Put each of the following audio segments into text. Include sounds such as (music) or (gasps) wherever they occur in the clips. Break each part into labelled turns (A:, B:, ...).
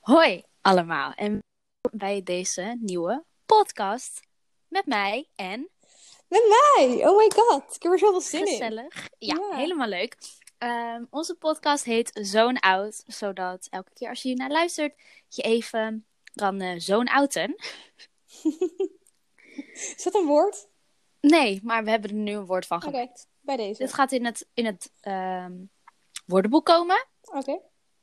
A: Hoi allemaal en welkom bij deze nieuwe podcast met mij en
B: Hey, oh my god, ik heb er zoveel zin in.
A: gezellig. Ja,
B: Ja.
A: helemaal leuk. Ehm, onze podcast heet Zo'n Oud, zodat elke keer als je hiernaar luistert, je even kan eh zo'n outen.
B: Is dat een woord?
A: Nee, maar we hebben er nu een woord van
B: Oké,
A: gemaakt.
B: bij deze.
A: Dit gaat in het, in het ehm, woordenboek komen
B: Oké,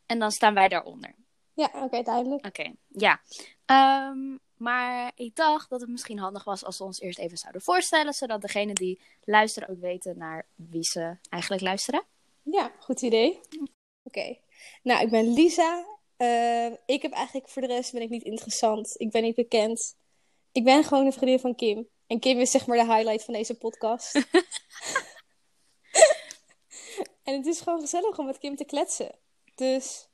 A: en dan staan wij daaronder.
B: ja, oké, duidelijk.
A: Oké, ja. Ehm, maar ik dacht dat het misschien handig was als we ons eerst even zouden voorstellen, zodat degenen die luisteren ook weten naar wie ze eigenlijk luisteren.
B: Ja, goed idee. Oké, nou, ik ben Lisa. Eh, ik heb eigenlijk voor de rest ben ik niet interessant. Ik ben niet bekend. Ik ben gewoon een vriendin van Kim. En Kim is zeg maar de highlight van deze podcast. en het is gewoon gezellig om met Kim te kletsen. Dus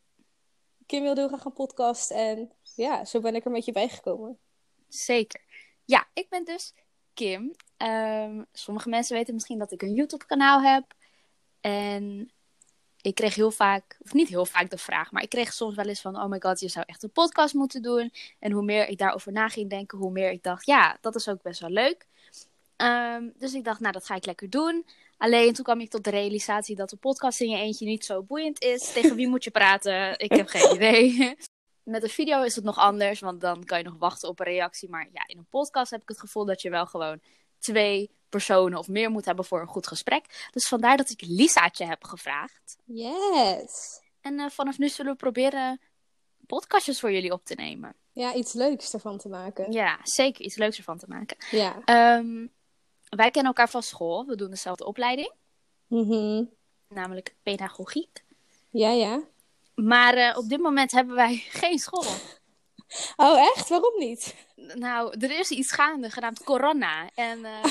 B: Kim wilde heel graag een podcast. En ja, zo ben ik er een beetje bijgekomen.
A: Zeker. Ja, ik ben dus Kim. Ehm, sommige mensen weten misschien dat ik een YouTube-kanaal heb. En ik kreeg heel vaak, of niet heel vaak de vraag, maar ik kreeg soms wel eens van: Oh my god, je zou echt een podcast moeten doen. En hoe meer ik daarover na ging denken, hoe meer ik dacht: Ja, dat is ook best wel leuk. Ehm, dus ik dacht, nou, dat ga ik lekker doen. Alleen toen kwam ik tot de realisatie dat de podcast in je eentje niet zo boeiend is. Tegen wie moet je praten? Ik heb geen idee. Met een video is het nog anders, want dan kan je nog wachten op een reactie. Maar ja, in een podcast heb ik het gevoel dat je wel gewoon twee personen of meer moet hebben voor een goed gesprek. Dus vandaar dat ik Lisaatje heb gevraagd.
B: Yes!
A: En eh, vanaf nu zullen we proberen podcastjes voor jullie op te nemen.
B: Ja, iets leuks ervan te maken.
A: Ja, zeker iets leuks ervan te maken.
B: Ja.
A: Ehm, wij kennen elkaar van school. We doen dezelfde opleiding,
B: Mhm.
A: namelijk pedagogiek.
B: Ja, ja.
A: Maar eh, op dit moment hebben wij geen school.
B: Oh, echt? Waarom niet?
A: Nou, er is iets gaande genaamd corona. En eh,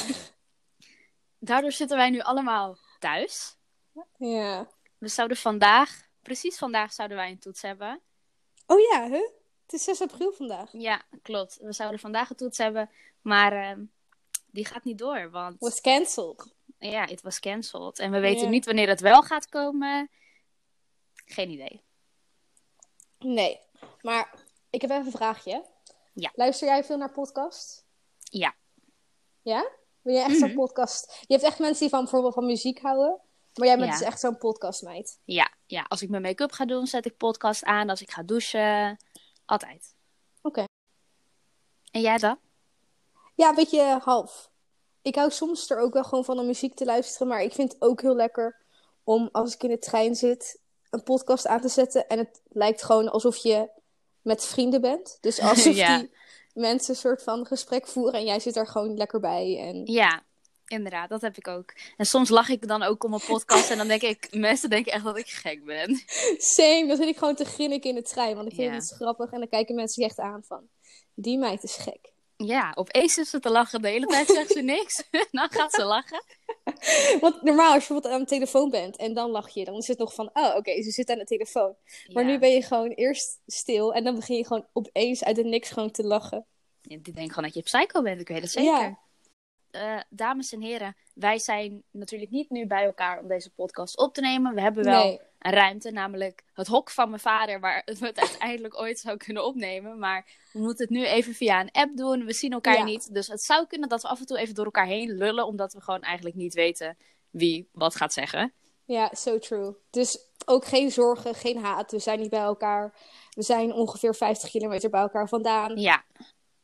B: (laughs)
A: daardoor zitten wij nu allemaal thuis.
B: Ja.
A: We zouden vandaag, precies vandaag, zouden wij een toets hebben.
B: Oh ja, hè? Het is 6 april vandaag.
A: Ja, klopt. We zouden vandaag een toets hebben, maar ehm, die gaat niet door. Want
B: Was cancelled.
A: ja, het was cancelled. En we weten
B: Ja.
A: niet wanneer het wel gaat komen. Geen idee.
B: Nee. Maar ik heb even een vraagje.
A: Ja.
B: Luister jij veel naar podcasts?
A: Ja.
B: Ja? Ben jij echt zo'n
A: Mhm.
B: podcast? Je hebt echt mensen die van bijvoorbeeld van muziek houden. Maar jij bent
A: Ja.
B: dus echt zo'n podcastmeid.
A: Ja, ja. Als ik mijn make-up ga doen, zet ik podcast aan. Als ik ga douchen, altijd.
B: Oké.
A: En jij dan?
B: Ja, een beetje half. Ik hou soms er ook wel gewoon van om muziek te luisteren. Maar ik vind het ook heel lekker om als ik in de trein zit een podcast aan te zetten. En het lijkt gewoon alsof je met vrienden bent.
A: (laughs)
B: Dus alsof
A: Ja.
B: die mensen een soort van gesprek voeren. En jij zit er gewoon lekker bij. En... (laughs)
A: Ja, inderdaad, dat heb ik ook. En soms lach ik dan ook om een podcast en dan denk ik, (laughs) mensen denken echt dat ik gek ben.
B: Same, dan zit ik gewoon te grinniken in de trein. Want ik vind
A: Ja.
B: het iets grappig. En dan kijken mensen je echt aan van... Die meid is gek.
A: Ja, opeens is ze te lachen, de hele tijd zegt ze niks. (laughs) dan gaat ze lachen.
B: Want normaal, als je bijvoorbeeld aan de telefoon bent en dan lach je, dan is het nog van, oh oké, ze zit aan de telefoon. Maar
A: Ja.
B: nu ben je gewoon eerst stil en dan begin je gewoon opeens uit het niks gewoon te lachen.
A: Ja, Die denken gewoon dat je psycho bent, ik weet het zeker.
B: Ja.
A: Eh, dames en heren, wij zijn natuurlijk niet nu bij elkaar om deze podcast op te nemen. We hebben wel
B: Nee,
A: een ruimte, namelijk het hok van mijn vader, waar (laughs) we het uiteindelijk ooit zou kunnen opnemen. Maar we moeten het nu even via een app doen. We zien elkaar
B: Ja.
A: niet. Dus het zou kunnen dat we af en toe even door elkaar heen lullen, omdat we gewoon eigenlijk niet weten wie wat gaat zeggen.
B: ja, so true. Dus ook geen zorgen, geen haat. We zijn niet bij elkaar. We zijn ongeveer 50 kilometer bij elkaar vandaan.
A: Ja,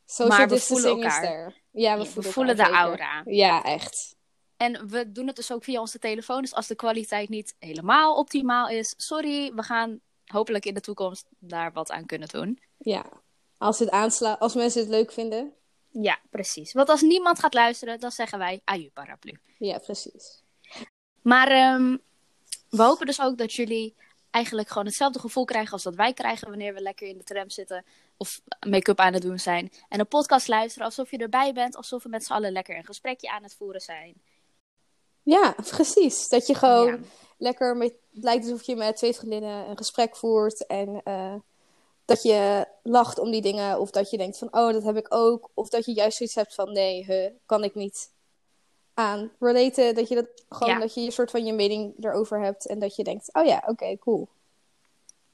B: Social
A: Maar we
B: distancing
A: voelen elkaar.
B: is er. Ja, we
A: we
B: voelen,
A: voelen de
B: elkaar zeker.
A: aura.
B: Ja, echt.
A: En we doen het dus ook via onze telefoon. Dus als de kwaliteit niet helemaal optimaal is, sorry, we gaan hopelijk in de toekomst daar wat aan kunnen doen.
B: Ja. Als, het aansla als mensen het leuk vinden.
A: Ja, precies. Want als niemand gaat luisteren, dan zeggen wij aju paraplu.
B: Ja, precies.
A: Maar ehm, we hopen dus ook dat jullie eigenlijk gewoon hetzelfde gevoel krijgen als dat wij krijgen wanneer we lekker in de tram zitten of make-up aan het doen zijn. En een podcast luisteren alsof je erbij bent, alsof we met z'n allen lekker een gesprekje aan het voeren zijn.
B: Ja, precies. Dat je gewoon
A: Ja.
B: lekker met, het lijkt alsof je met twee vriendinnen een gesprek voert en eh, dat je lacht om die dingen of dat je denkt van oh dat heb ik ook of dat je juist zoiets hebt van nee huh, kan ik niet aan relaten dat je dat gewoon
A: Ja.
B: dat je een soort van je mening erover hebt en dat je denkt oh ja oké cool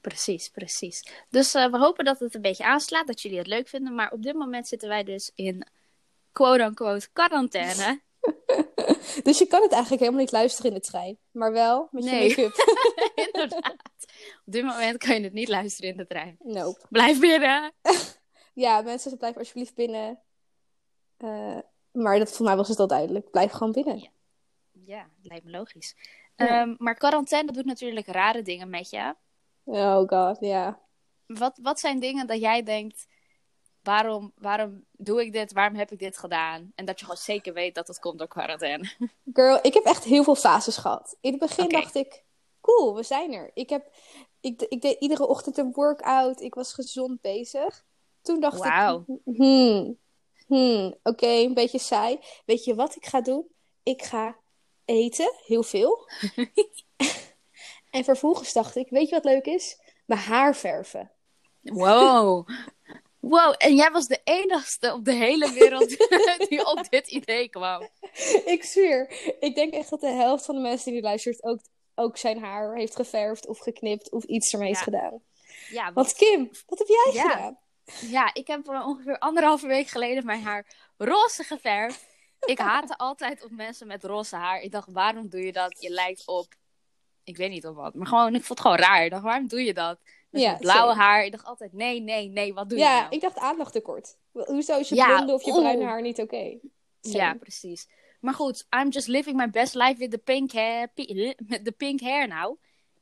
A: Precies, precies. Dus eh, we hopen dat het een beetje aanslaat, dat jullie het leuk vinden. Maar op dit moment zitten wij dus in quote-unquote (laughs) quarantaine.
B: Dus je kan het eigenlijk helemaal niet luisteren in de trein. Maar wel met
A: Nee. (laughs)
B: je make-up.
A: Inderdaad. Op dit moment kan je het niet luisteren in de trein.
B: Nope.
A: Blijf binnen.
B: Ja, mensen, blijf alsjeblieft binnen. Eh, maar dat, voor mij was het al duidelijk. Blijf gewoon binnen.
A: Ja, lijkt me logisch.
B: Ja.
A: Ehm, maar quarantaine doet natuurlijk rare dingen met je.
B: Oh god, ja.
A: Wat, wat zijn dingen dat jij denkt, waarom, waarom doe ik dit, waarom heb ik dit gedaan? En dat je gewoon zeker weet dat het komt door quarantaine.
B: Girl, ik heb echt heel veel fases gehad. In het begin
A: Oké.
B: dacht ik, cool, we zijn er. Ik, heb, ik, ik deed iedere ochtend een workout. Ik was gezond bezig. Toen dacht ik,
A: Wauw.
B: Hmm. Hmm. Oké, een beetje saai. Weet je wat ik ga doen? Ik ga eten, heel
A: (laughs)
B: veel. (laughs) en vervolgens dacht ik, weet je wat leuk is? Mijn haar verven.
A: Wow. Wow, en jij was de enigste op de hele wereld (laughs) die op dit idee kwam.
B: (laughs) ik zweer. Ik denk echt dat de helft van de mensen die nu luistert ook, ook zijn haar heeft geverfd of geknipt of iets ermee heeft
A: Ja.
B: gedaan.
A: Ja, want
B: Want Kim, wat heb jij
A: Ja.
B: gedaan?
A: ja, ik heb eh, ongeveer anderhalve week geleden mijn haar roze geverfd. Ik haatte altijd op mensen met roze haar. Ik dacht, waarom doe je dat? Je lijkt op, ik weet niet op wat, maar gewoon, ik vond het gewoon raar. Ik dacht, waarom doe je dat? Met
B: Ja,
A: zo'n blauwe
B: same.
A: haar. Ik dacht altijd, nee, nee, nee, wat doe je
B: Ja,
A: nou?
B: ik dacht aandachttekort. Hoezo is je
A: Ja,
B: blonde of je
A: oeh.
B: bruine haar niet oké? Same.
A: Ja, precies. Maar goed, I'm just living my best life with the pink hair, pi- (laughs) met de pink hair nou.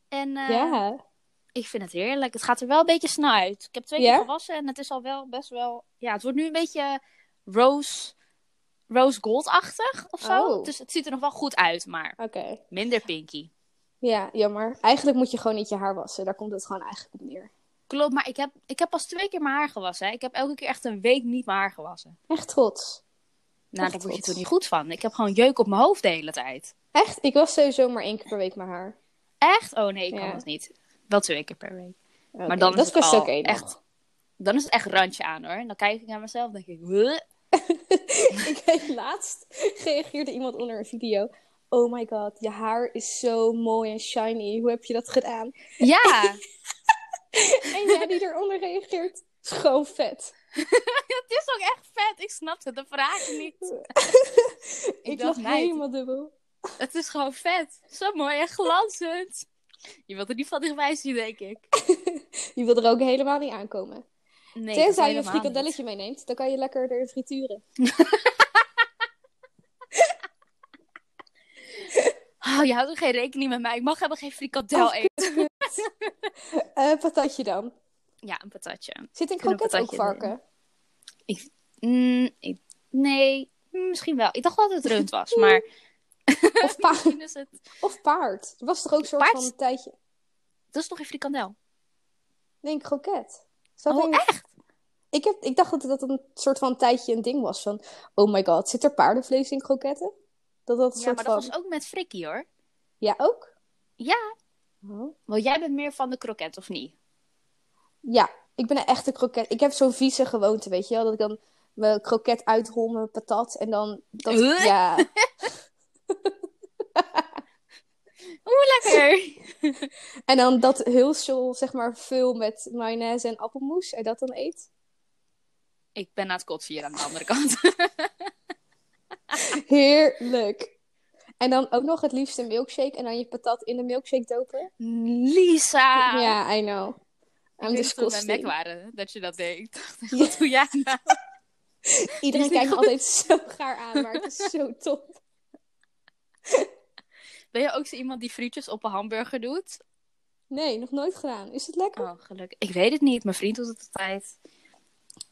A: En eh,
B: Ja.
A: ik vind het heerlijk. Het gaat er wel een beetje snel uit. Ik heb twee
B: Ja?
A: keer gewassen en het is al wel best wel... Ja, het wordt nu een beetje rose, rose gold-achtig of zo.
B: Oh.
A: Dus het ziet er nog wel goed uit, maar
B: Oké.
A: minder pinky.
B: Ja, jammer. Eigenlijk moet je gewoon niet je haar wassen. Daar komt het gewoon eigenlijk op neer.
A: Klopt, maar ik heb, ik heb pas twee keer mijn haar gewassen. Hè. Ik heb elke keer echt een week niet mijn haar gewassen.
B: Echt trots.
A: Nou,
B: Echt
A: daar word je
B: trots.
A: toch niet goed van. Ik heb gewoon jeuk op mijn hoofd de hele tijd.
B: Echt? Ik was sowieso maar één keer per week mijn haar.
A: Echt? Oh nee, ik kan
B: Ja.
A: dat niet. Wel twee keer per week.
B: Oké,
A: Maar dan is
B: dat
A: het
B: best
A: al
B: oké nog.
A: echt- Dan is het echt randje aan hoor. En dan kijk ik naar mezelf en denk ik... "Huh?"
B: (laughs) ik weet laatst reageerde iemand onder een video. Oh my god, je haar is zo mooi en shiny. Hoe heb je dat gedaan?
A: Ja,
B: En jij die eronder reageert, is gewoon vet.
A: (laughs) het is ook echt vet. Ik snapte de vraag niet.
B: Ik,
A: Ik dacht,
B: lag
A: meid.
B: helemaal dubbel.
A: Het is gewoon vet. Zo mooi en glanzend. Je wilt er niet van dichtbij zien, denk ik.
B: Je wil er ook helemaal niet aankomen.
A: Nee,
B: Tenzij je een
A: helemaal
B: frikadelletje meeneemt, dan kan je lekker erin frituren.
A: niet. Oh, je houdt ook geen rekening met mij. Ik mag helemaal geen frikandel
B: Oh,
A: eten.
B: Eh patatje dan.
A: Ja, een patatje.
B: Zit in
A: Doe een
B: kroket ook
A: patatje erin.
B: varken?
A: Mm, ik- nee, mm, misschien wel. Ik dacht dat het rund was, maar
B: Of, (laughs) pa (laughs)
A: misschien is het...
B: of paard? Er was toch ook een soort
A: Paard-
B: van een tijdje...
A: Dat is toch geen frikandel?
B: Nee, een kroket. Zat
A: Oh,
B: er- Ik, heb, ik dacht dat dat een soort van tijdje een ding was. Van, oh my god, zit er paardenvlees in kroketten? Dat dat een
A: Ja,
B: soort
A: maar
B: van...
A: dat was ook met frikkie, hoor.
B: Ja, ook?
A: Ja.
B: Oh.
A: Wel, jij bent meer van de kroket, of niet?
B: Ja, ik ben een echte kroket. Ik heb zo'n vieze gewoonte, weet je wel? Dat ik dan mijn kroket uitrol, mijn patat. En dan... Dat,
A: Huh?
B: ja,
A: Oeh, lekker!
B: en dan dat hulsel, zeg maar, vul met mayonaise en appelmoes. En dat dan eet.
A: (laughs) Ik ben aan het kotsen hier aan de andere kant. (laughs)
B: Heerlijk. En dan ook nog het liefst een milkshake. En dan je patat in de milkshake dopen.
A: Lisa!
B: Ja, I know. I'm
A: Ik
B: just
A: wist toen we
B: disgusting.
A: mek waren dat je dat deed. Ik dacht, wat doe jij nou? (laughs)
B: Iedereen
A: Is niet
B: kijkt me
A: goed.
B: altijd zo gaar aan, maar het is zo top.
A: Ben je ook zo iemand die frietjes op een hamburger doet?
B: Nee, nog nooit gedaan. Is het lekker?
A: Oh, gelukkig. Ik weet het niet. Mijn vriend doet het altijd.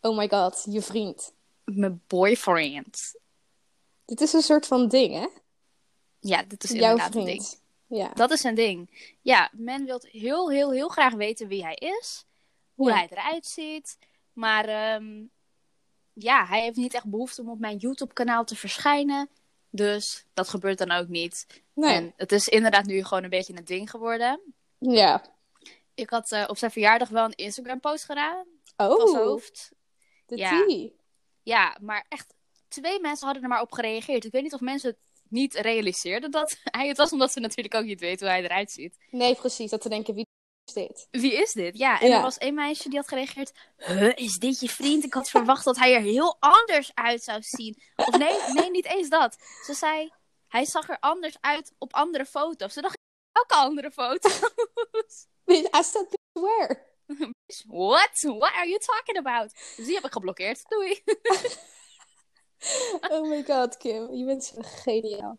B: Oh my god, je vriend.
A: Mijn boyfriend.
B: Dit is een soort van ding, hè?
A: Ja, dat is
B: Jouw
A: inderdaad een
B: vriend.
A: ding.
B: Ja.
A: Dat is een ding. Ja, men wil heel, heel, heel graag weten wie hij is. Hoe
B: Ja.
A: hij eruit ziet. Maar ehm, ja, hij heeft niet echt behoefte om op mijn YouTube-kanaal te verschijnen. Dus dat gebeurt dan ook niet.
B: Nee.
A: En het is inderdaad nu gewoon een beetje een ding geworden.
B: Ja.
A: Ik had eh, op zijn verjaardag wel een Instagram-post gedaan. Van zijn
B: Oh,
A: hoofd.
B: de
A: Ja.
B: tea.
A: Ja, maar echt twee mensen hadden er maar op gereageerd. Ik weet niet of mensen het (laughs) niet realiseerden dat hij het was. Omdat ze natuurlijk ook niet weten hoe hij eruit ziet.
B: Nee, precies. Dat te denken wie is dit? (laughs)
A: Wie is dit? Ja, en
B: Ja.
A: er was één meisje die had gereageerd. Huh, is dit je vriend? Ik (laughs) had verwacht dat hij er heel anders uit zou zien. Of nee, nee, niet eens dat. Ze zei, hij zag er anders uit op andere foto's. Ze dacht, welke andere foto's? (laughs)
B: I said where?
A: Dus, What? What are you talking about? Dus die heb ik geblokkeerd. Doei.
B: Oh my god, Kim, je bent zo geniaal.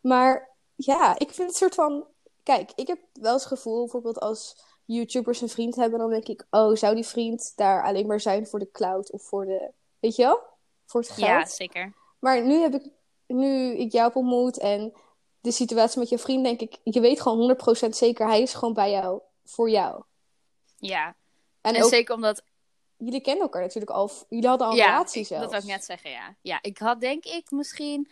B: Maar ja, ik vind het soort van. Kijk, ik heb wel eens het gevoel, bijvoorbeeld als YouTubers een vriend hebben, dan denk ik, oh, zou die vriend daar alleen maar zijn voor de cloud of voor de. Weet je wel? Voor het geld.
A: (laughs) Ja, zeker.
B: Maar nu heb ik, nu ik jou heb ontmoet en de situatie met je vriend, denk ik, je weet gewoon 100% zeker, hij is gewoon bij jou, voor jou.
A: Ja.
B: En,
A: En,
B: ook,
A: zeker omdat...
B: jullie kennen elkaar natuurlijk al, jullie hadden al een
A: Ja,
B: relatie zelfs.
A: Dat wou ik net zeggen, ja. Ja, ik had denk ik misschien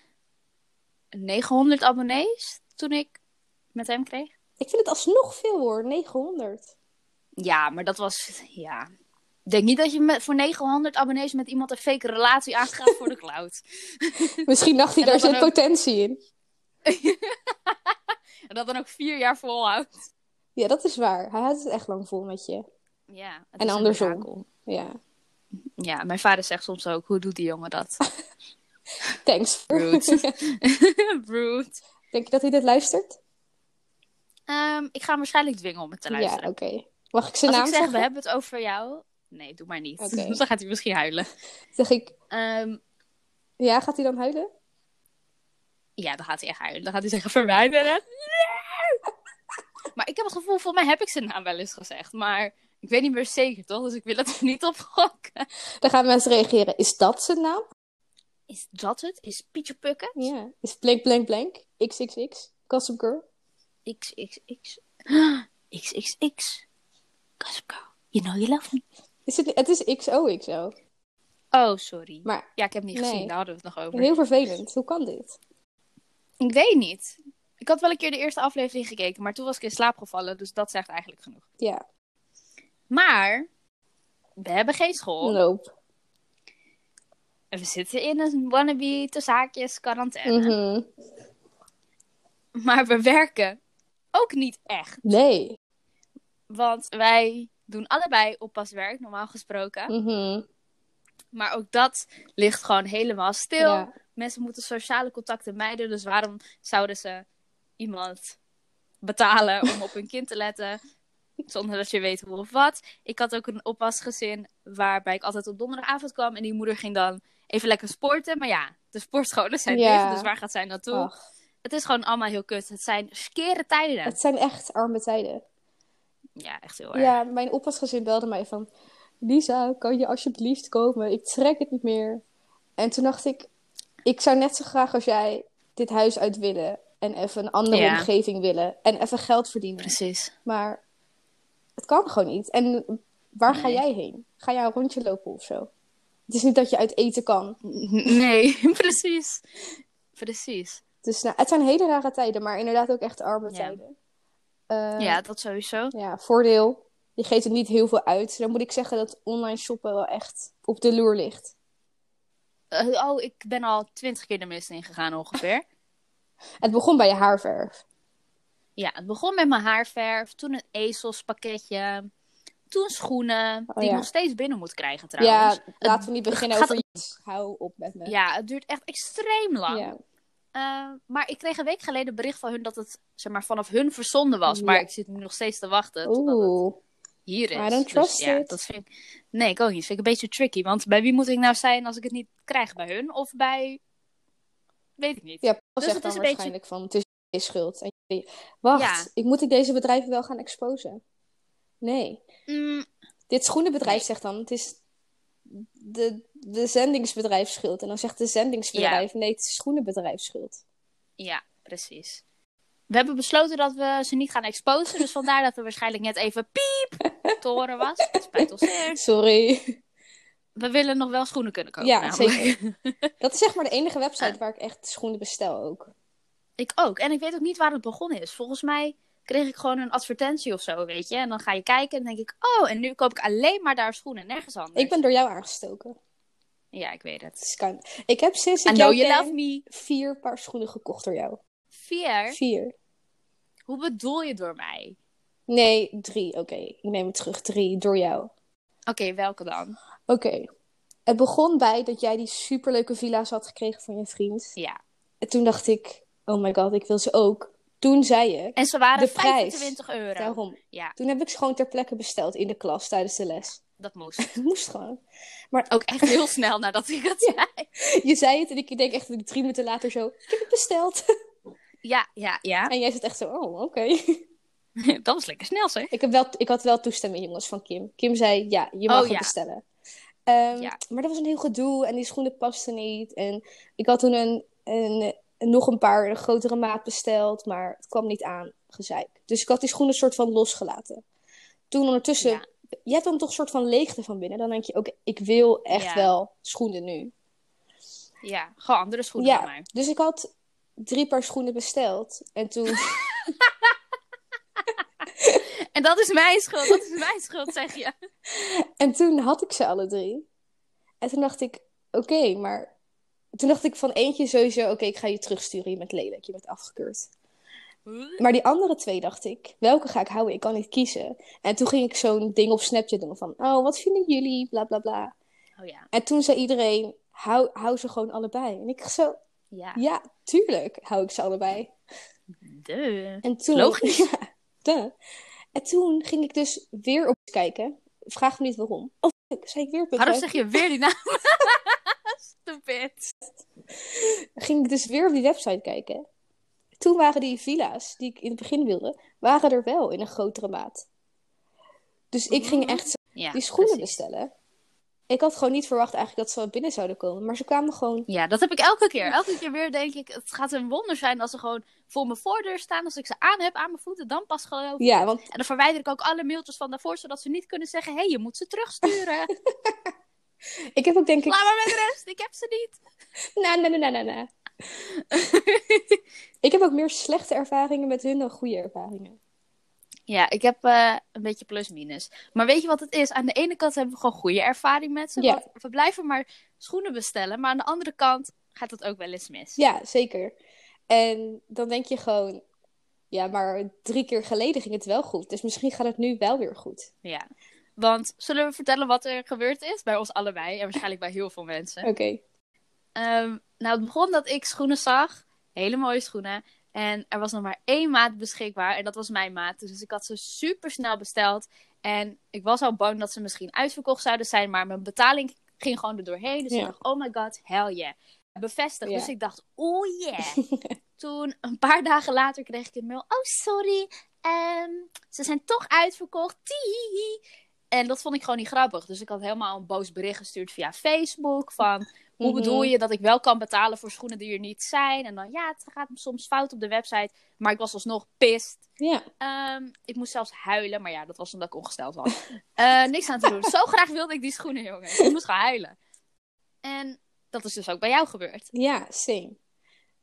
A: 900 abonnees toen ik met hem kreeg.
B: Ik vind het alsnog veel hoor, 900.
A: Ja, maar dat was. Ja. Ik denk niet dat je met, voor 900 abonnees met iemand een fake relatie aangaat voor de cloud. (laughs)
B: Misschien dacht
A: (laughs)
B: hij,
A: En
B: daar
A: dat
B: zit
A: dan ook-
B: potentie in.
A: En dat dan ook vier jaar volhoudt.
B: Ja, dat is waar. Hij had het echt lang vol met je.
A: Ja, het
B: En
A: is een
B: andersom.
A: mirakel.
B: Ja.
A: Ja, mijn vader zegt soms ook: hoe doet die jongen (laughs) dat?
B: Thanks. voor-
A: Rude. Rude.
B: (laughs) Denk je dat hij dit luistert?
A: Ehm, ik ga hem waarschijnlijk dwingen om het te
B: Ja,
A: luisteren.
B: oké. Mag ik zijn
A: Als
B: naam
A: ik zeg: we
B: zeggen?
A: hebben het over jou. Nee, doe maar niet.
B: Oké.
A: (laughs) Dan gaat hij misschien huilen.
B: Zeg ik,
A: Ehm,
B: ja, gaat hij dan huilen?
A: Ja, dan gaat hij echt huilen. Dan gaat hij zeggen verwijderen. Nee! Maar ik heb het gevoel, volgens mij heb ik zijn naam wel eens gezegd. Maar ik weet niet meer zeker, toch? Dus ik wil het er niet op gokken.
B: Dan gaan mensen reageren. Is dat zijn naam?
A: Is dat het? Is Pietje Pukken?
B: Ja. Is blank, blank, blank? XXX? Custom Girl?
A: XXX. XXX. Gossip Girl. You know you love me.
B: Is het, het is XOXO.
A: Oh, sorry.
B: Maar
A: Ja, ik heb het niet
B: Nee.
A: gezien. Daar hadden we het nog over.
B: heel vervelend. Hoe kan dit?
A: Ik weet niet. Ik had wel een keer de eerste aflevering gekeken. Maar toen was ik in slaap gevallen. Dus dat zegt eigenlijk genoeg.
B: Ja.
A: Maar we hebben geen school.
B: Nope.
A: En We zitten in een wannabe tussen haakjes quarantaine.
B: Mhm.
A: Maar we werken ook niet echt.
B: Nee.
A: Want wij doen allebei oppaswerk, normaal gesproken.
B: Mhm.
A: Maar ook dat ligt gewoon helemaal stil.
B: Ja.
A: Mensen moeten sociale contacten mijden. Dus waarom zouden ze iemand betalen om op hun kind te letten? Zonder dat je weet hoe of wat. Ik had ook een oppasgezin waarbij ik altijd op donderdagavond kwam. En die moeder ging dan even lekker sporten. Maar ja, de sportscholen zijn
B: Ja.
A: dicht. Dus waar gaat zij naartoe?
B: Ach,
A: Het is gewoon allemaal heel kut. Het zijn skere tijden.
B: het zijn echt arme tijden.
A: Ja, echt heel erg.
B: Ja, mijn oppasgezin belde mij van... Lisa, kan je alsjeblieft komen? Ik trek het niet meer. En toen dacht ik... Ik zou net zo graag als jij dit huis uit willen. En even een andere
A: Ja.
B: omgeving willen. En even geld verdienen.
A: Precies.
B: Maar het kan gewoon niet. En waar ga
A: Nee.
B: jij heen? Ga jij een rondje lopen of zo? Het is niet dat je uit eten kan.
A: (laughs) Nee, (laughs) precies. Precies.
B: Dus nou, het zijn hele rare tijden, maar inderdaad ook echt arme
A: Ja.
B: tijden. Eh,
A: Ja, dat sowieso.
B: ja, voordeel. Je geeft er niet heel veel uit. Dan moet ik zeggen dat online shoppen wel echt op de loer ligt.
A: Eh, oh, ik ben al twintig keer de mist ingegaan
B: (laughs)
A: ongeveer.
B: Het begon bij je haarverf.
A: Ja, het begon met mijn haarverf, toen een ezelspakketje, toen schoenen, die
B: Oh, ja.
A: ik nog steeds binnen moet krijgen trouwens.
B: ja, laten we niet beginnen
A: gaat
B: over iets. Hou op met me.
A: Ja, het duurt echt extreem lang.
B: Ja.
A: Eh, maar ik kreeg een week geleden bericht van hun dat het zeg maar, vanaf hun verzonden was. Maar
B: Ja.
A: ik zit nu nog steeds te wachten totdat het
B: Oeh.
A: hier is.
B: I don't
A: Dus
B: trust
A: ja,
B: it.
A: dat vind ik... Nee, ik ook niet. Dat vind ik een beetje tricky. Want bij wie moet ik nou zijn als ik het niet krijg? Bij hun of bij... Weet ik niet.
B: Ja, Paul
A: Dus
B: zegt
A: het
B: dan
A: is een beetje-
B: waarschijnlijk van het is je schuld. En jullie- wacht,
A: Ja.
B: ik moet ik deze bedrijven wel gaan exposen? Nee.
A: Mm,
B: Dit schoenenbedrijf
A: Nee.
B: zegt dan, het is de, de zendingsbedrijf schuld. En dan zegt de zendingsbedrijf, nee, het is het schoenenbedrijf schuld.
A: ja, precies. We hebben besloten dat we ze niet gaan exposen. Dus vandaar dat er waarschijnlijk net even
B: (laughs)
A: piep te horen was. Het spijt ons zeer.
B: Sorry.
A: We willen nog wel schoenen kunnen kopen.
B: Ja,
A: namelijk.
B: zeker.
A: (laughs)
B: Dat is zeg maar de enige website waar ik echt schoenen bestel ook.
A: Ik ook. En ik weet ook niet waar het begonnen is. Volgens mij kreeg ik gewoon een advertentie of zo, weet je. En dan ga je kijken en dan denk ik... Oh, en nu koop ik alleen maar daar schoenen. Nergens anders.
B: Ik ben door jou aangestoken.
A: Ja, ik weet het.
B: Dus kan. Ik heb sinds
A: I
B: ik
A: know
B: jou
A: you
B: ken
A: love me.
B: vier paar schoenen gekocht door jou.
A: Vier.
B: Vier.
A: Hoe bedoel je door mij?
B: Nee, drie. Oké, ik neem het terug. Drie, door jou.
A: Oké, welke dan?
B: Oké. Het begon bij dat jij die superleuke villa's had gekregen van je vriend.
A: Ja.
B: En toen dacht ik, oh my god, ik wil ze ook. Toen zei je,
A: En ze waren
B: De prijs.
A: 25 euro.
B: daarom.
A: Ja,
B: Toen heb ik ze gewoon ter plekke besteld in de klas tijdens de les. (laughs)
A: dat moest.
B: Het moest gewoon.
A: (laughs) Ook echt heel snel nadat ik het zei.
B: Je zei het en ik denk echt drie minuten later zo, ik heb het besteld.
A: Ja, ja, ja.
B: (laughs) En jij zit echt zo, oh, oké.
A: (laughs)
B: (laughs)
A: Dat was lekker snel, zeg.
B: Ik, heb wel, ik had wel toestemming, jongens, van Kim. Kim zei, ja, je mag
A: Oh,
B: het
A: ja.
B: bestellen. Ehm,
A: Ja.
B: Maar dat was een heel gedoe en die schoenen pasten niet. En ik had toen een, een, een- nog een paar grotere maat besteld, maar het kwam niet aan, gezeik. Dus ik had die schoenen soort van losgelaten. Toen ondertussen,
A: Ja.
B: je hebt dan toch een soort van leegte van binnen. Dan denk je, oké, ik wil echt
A: Ja.
B: wel schoenen nu.
A: Ja, gewoon andere schoenen
B: Ja.
A: dan mij.
B: Dus ik had drie paar schoenen besteld. En toen,
A: En dat is mijn schuld, dat is mijn schuld, zeg je.
B: en toen had ik ze alle drie. En toen dacht ik, oké, maar... Toen dacht ik van eentje sowieso, oké, ik ga je terugsturen. Je bent lelijk, je bent afgekeurd. Maar die andere twee dacht ik, welke ga ik houden? Ik kan niet kiezen. En toen ging ik zo'n ding op Snapchat doen van, oh, wat vinden jullie? Bla, bla, bla.
A: (laughs) Oh ja,
B: En toen zei iedereen, hou, hou ze gewoon allebei. En ik zo,
A: ja.
B: ja, tuurlijk hou ik ze allebei.
A: De.
B: En toen,
A: Logisch.
B: (laughs) Ja, duh. En toen ging ik dus weer op kijken. Vraag me niet waarom. Oh, fuck, zei ik weer op
A: Waarom zeg je weer die naam? (laughs) Stupid.
B: Ging ik dus weer op die website kijken. Toen waren die villa's die ik in het begin wilde, waren er wel in een grotere maat. Dus ik ging
A: Mhm.
B: echt
A: Ja,
B: die schoenen
A: precies.
B: bestellen. Ik had gewoon niet verwacht eigenlijk dat ze wel binnen zouden komen. Maar ze kwamen gewoon...
A: Ja, dat heb ik elke keer. Elke keer weer denk ik, het gaat een wonder zijn als ze gewoon voor mijn voordeur staan. Als ik ze aan heb, aan mijn voeten, dan pas geloof ik.
B: Ja, want
A: En dan verwijder ik ook alle mailtjes van daarvoor, zodat ze niet kunnen zeggen, hé, hey, je moet ze (laughs) terugsturen.
B: ik heb ook denk ik...
A: Laat maar met rust, ik heb ze niet.
B: Na, na, na, na, na,
A: (laughs)
B: na. Ik heb ook meer slechte ervaringen met hun dan goede ervaringen.
A: Ja, ik heb eh, een beetje plus-minus. Maar weet je wat het is? Aan de ene kant hebben we gewoon goede ervaring met ze.
B: Ja.
A: want we blijven maar schoenen bestellen. Maar aan de andere kant gaat dat ook wel eens mis.
B: Ja, zeker. En dan denk je gewoon... Ja, maar drie keer geleden ging het wel goed. Dus misschien gaat het nu wel weer goed.
A: Ja. Want zullen we vertellen wat er gebeurd is? Bij ons allebei en waarschijnlijk bij heel veel mensen.
B: Oké.
A: Ehm, nou, het begon dat ik schoenen zag. Hele mooie schoenen. En er was nog maar één maat beschikbaar. En dat was mijn maat. Dus ik had ze super snel besteld. En ik was al bang dat ze misschien uitverkocht zouden zijn. Maar mijn betaling ging gewoon er doorheen. Dus
B: Ja.
A: ik dacht, oh my god, hell yeah. Bevestigd.
B: Ja.
A: Dus ik dacht, oh
B: (laughs)
A: yeah. Toen, een paar dagen later, kreeg ik een mail. Oh, sorry. ehm, ze zijn toch uitverkocht. Tiehihi. En dat vond ik gewoon niet grappig. Dus ik had helemaal een boos bericht gestuurd via Facebook. Van, hoe
B: Mhm.
A: bedoel je dat ik wel kan betalen voor schoenen die er niet zijn? En dan, ja, het gaat soms fout op de website. Maar ik was alsnog pist.
B: Ja.
A: Ehm, ik moest zelfs huilen, maar ja, dat was omdat ik ongesteld was. (laughs) Eh, niks aan te doen. Zo graag wilde ik die schoenen, jongen. Ik moest gaan huilen. En dat is dus ook bij jou gebeurd.
B: Ja, same.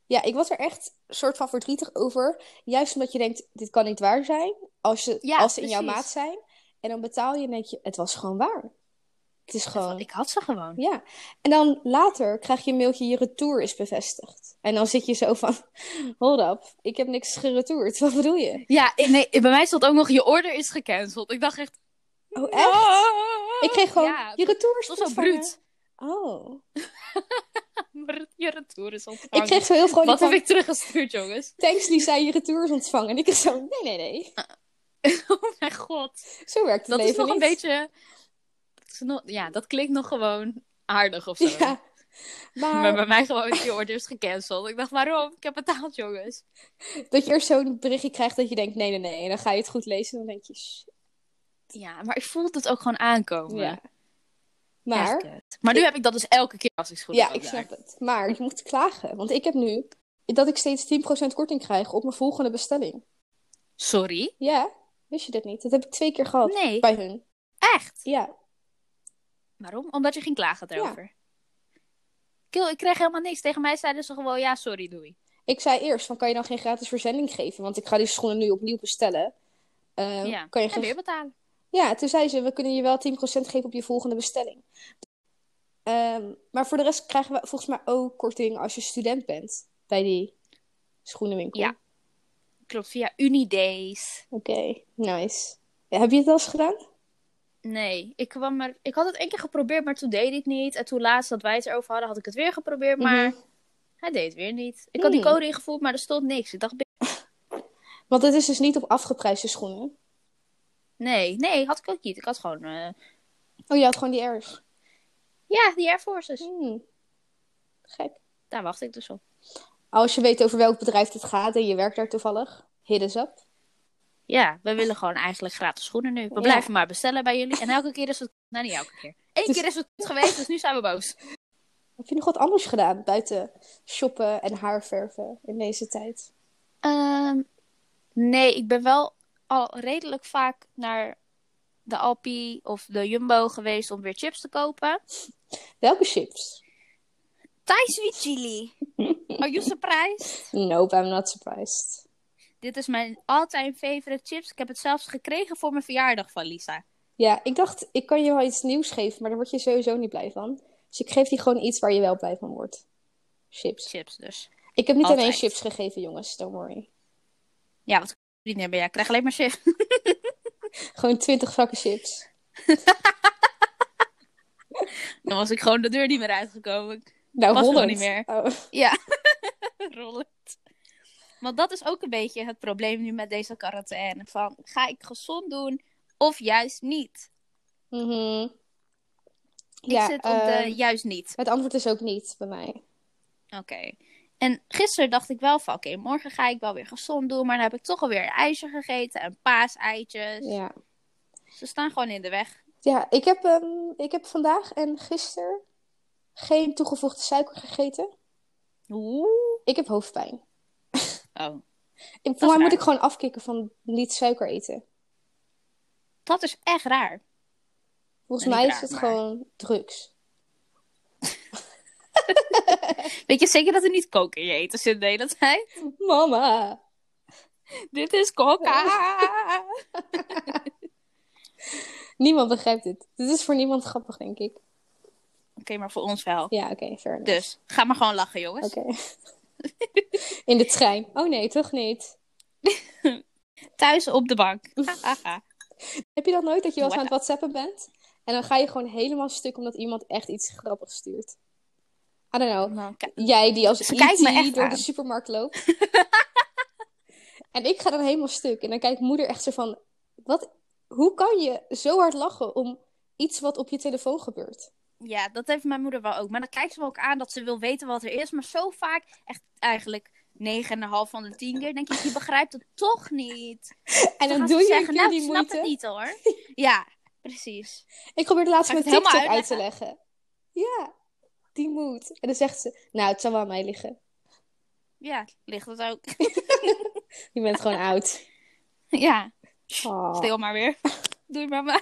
B: Ja, ik was er echt soort van verdrietig over. Juist omdat je denkt, dit kan niet waar zijn. Als, je,
A: Ja,
B: als ze in jouw
A: precies.
B: maat zijn. En dan betaal je en denk je, het was gewoon waar. Het is gewoon,
A: Ik had ze gewoon.
B: ja. En dan later krijg je een mailtje, je retour is bevestigd. En dan zit je zo van, hold up, ik heb niks geretourd. Wat bedoel je?
A: Ja, ik- nee, bij mij stond ook nog, je order is gecanceld. Ik dacht echt...
B: Oh, echt? Ik kreeg gewoon,
A: Ja,
B: je retour is
A: Het was zo
B: ontvangen.
A: bruut.
B: Oh.
A: Maar Je retour is
B: Ik
A: ontvangen.
B: kreeg zo heel vrolijk
A: Wat
B: van,
A: heb ik teruggestuurd, jongens?
B: (laughs) thanks die zei je retour is ontvangen. En ik zo, nee, nee, nee.
A: Oh mijn god.
B: Zo werkt het
A: Ah, Dat is
B: leven
A: nog een
B: niet.
A: beetje... dat is nog- Ja, dat klinkt nog gewoon aardig of zo. (laughs)
B: Ja. Maar...
A: Maar bij mij gewoon, die order is gecanceld. Ik dacht, waarom? Ik heb betaald, jongens.
B: Dat je er zo'n berichtje krijgt dat je denkt, nee, nee, nee. En dan ga je het goed lezen en dan denk je, "Shh."
A: Ja, maar ik voelde het dus ook gewoon aankomen.
B: ja.
A: Echt
B: Maar,
A: kut. maar nu heb ik dat dus elke keer als ik schoenen
B: ja,
A: koop
B: ik
A: daar.
B: snap het. Maar je moet klagen. Want ik heb nu dat ik steeds 10% korting krijg op mijn volgende bestelling.
A: Sorry?
B: Ja, wist je dat niet? Dat heb ik twee keer gehad
A: Nee,
B: bij hun.
A: echt?
B: Ja,
A: Waarom? Omdat je ging klagen daarover. Kill, ik kreeg helemaal niks. Tegen mij zeiden ze gewoon, ja, sorry, doei.
B: ik zei eerst van, kan je dan geen gratis verzending geven? Want ik ga die schoenen nu opnieuw bestellen. Eh,
A: ja,
B: kan je
A: en
B: geen...
A: weer betalen.
B: ja, toen zei ze, we kunnen je wel 10% geven op je volgende bestelling. Ehm, maar voor de rest krijgen we volgens mij ook korting als je student bent bij die schoenenwinkel.
A: Ja. Klopt, via Unidays.
B: Oké, nice. Ja, heb je het al eens gedaan? Mhm.
A: Nee, ik kwam er... Ik had het één keer geprobeerd, maar toen deed hij het niet. En toen laatst dat wij het erover hadden, had ik het weer geprobeerd, maar... Hij deed het weer niet. Ik had die
B: Hmm.
A: code ingevoerd, maar er stond niks. Ik dacht,
B: Want het is dus niet op afgeprijsde schoenen.
A: nee, nee, had ik ook niet. Ik had gewoon, eh,
B: Oh, je had gewoon die Airs.
A: ja, die Air Forces.
B: Hmm. Gek. Oh,
A: Daar wacht ik dus op.
B: Als je weet over welk bedrijf het gaat en je werkt daar toevallig, hit us up.
A: Ja, we willen gewoon eigenlijk gratis schoenen nu. We
B: Ja.
A: blijven maar bestellen bij jullie. En elke keer is het... Nou, niet elke keer. Eén
B: Dus-
A: keer is het kut geweest, dus nu zijn we boos.
B: Heb je nog wat anders gedaan buiten shoppen en haarverven in deze tijd?
A: Ehm, nee, ik ben wel al redelijk vaak naar de Alpi of de Jumbo geweest om weer chips te kopen.
B: Welke chips?
A: Thai sweet chili. Oh, Are you surprised?
B: Nope, I'm not surprised.
A: Dit is mijn all-time favorite chips. Ik heb het zelfs gekregen voor mijn verjaardag van Lisa.
B: Ja, ik dacht, ik kan je wel iets nieuws geven, maar daar word je sowieso niet blij van. Dus ik geef je gewoon iets waar je wel blij van wordt. Chips.
A: Chips dus.
B: Ik heb niet
A: Altijd.
B: alleen chips gegeven, jongens, don't worry.
A: Ja, wat niet meer. Ja, ik krijg alleen maar chips. (laughs)
B: Gewoon 20 vakken chips.
A: Dan was ik gewoon de deur niet meer uitgekomen. (laughs)
B: Nou,
A: Past gewoon
B: 100.
A: niet meer.
B: Oh.
A: Ja, rollend. Want dat is ook een beetje het probleem nu met deze quarantaine. Van, ga ik gezond doen of juist niet?
B: Mhm.
A: Ik
B: Ja,
A: zit op
B: ehm,
A: de juist niet.
B: Het antwoord is ook niet bij mij.
A: Oké. En gisteren dacht ik wel van, oké, morgen ga ik wel weer gezond doen. Maar dan heb ik toch alweer een ijsje gegeten en paaseitjes.
B: Ja.
A: Ze staan gewoon in de weg.
B: Ja, ik heb, ehm, ik heb vandaag en gisteren geen toegevoegde suiker gegeten.
A: Oeh.
B: Ik heb hoofdpijn.
A: Oh,
B: Ik,
A: is
B: voor mij moet
A: raar.
B: ik gewoon afkicken van niet suiker eten.
A: dat is echt raar.
B: Volgens
A: Nou,
B: mij
A: niet raar,
B: is het
A: maar-
B: gewoon drugs.
A: Weet je zeker dat er niet kook in je eten zit de hele tijd?
B: Mama!
A: (laughs) Dit is coca.
B: (laughs) Niemand begrijpt dit. Dit is voor niemand grappig, denk ik.
A: Oké, maar voor ons wel.
B: Ja, oké, fair enough.
A: Dus, ga maar gewoon lachen, jongens.
B: Oké. (laughs) In de trein. Oh nee, toch niet.
A: Thuis op de bank. Hahaha.
B: Heb je dat nooit, dat je wel eens aan
A: What
B: het whatsappen bent? En dan ga je gewoon helemaal stuk omdat iemand echt iets grappigs stuurt. I don't know.
A: Nou, kijk.
B: Jij die als
A: Ze
B: E.T.
A: kijkt me echt
B: door
A: aan.
B: de supermarkt loopt.
A: (laughs)
B: en ik ga dan helemaal stuk. En dan kijkt moeder echt zo van... Wat, hoe kan je zo hard lachen om iets wat op je telefoon gebeurt?
A: ja, dat heeft mijn moeder wel ook. Maar dan kijkt ze me ook aan dat ze wil weten wat er is. Maar zo vaak, echt eigenlijk 9,5 van de 10 keer, denk ik, je begrijpt het toch niet. Dan
B: En dan
A: gaat ze
B: doe je een
A: zeggen,
B: keer
A: nou,
B: die
A: ik snap het
B: moeite.
A: niet hoor.
B: (laughs)
A: Ja, precies.
B: Ik probeer het laatst
A: Ga ik
B: met
A: het helemaal
B: TikTok uit te leggen. Ja, die moet. En dan zegt ze... Nou, het zal wel aan mij liggen.
A: Ja, ligt het ook.
B: Je bent
A: (laughs)
B: gewoon oud.
A: ja,
B: Oh,
A: stil maar weer. (laughs) Doei mama.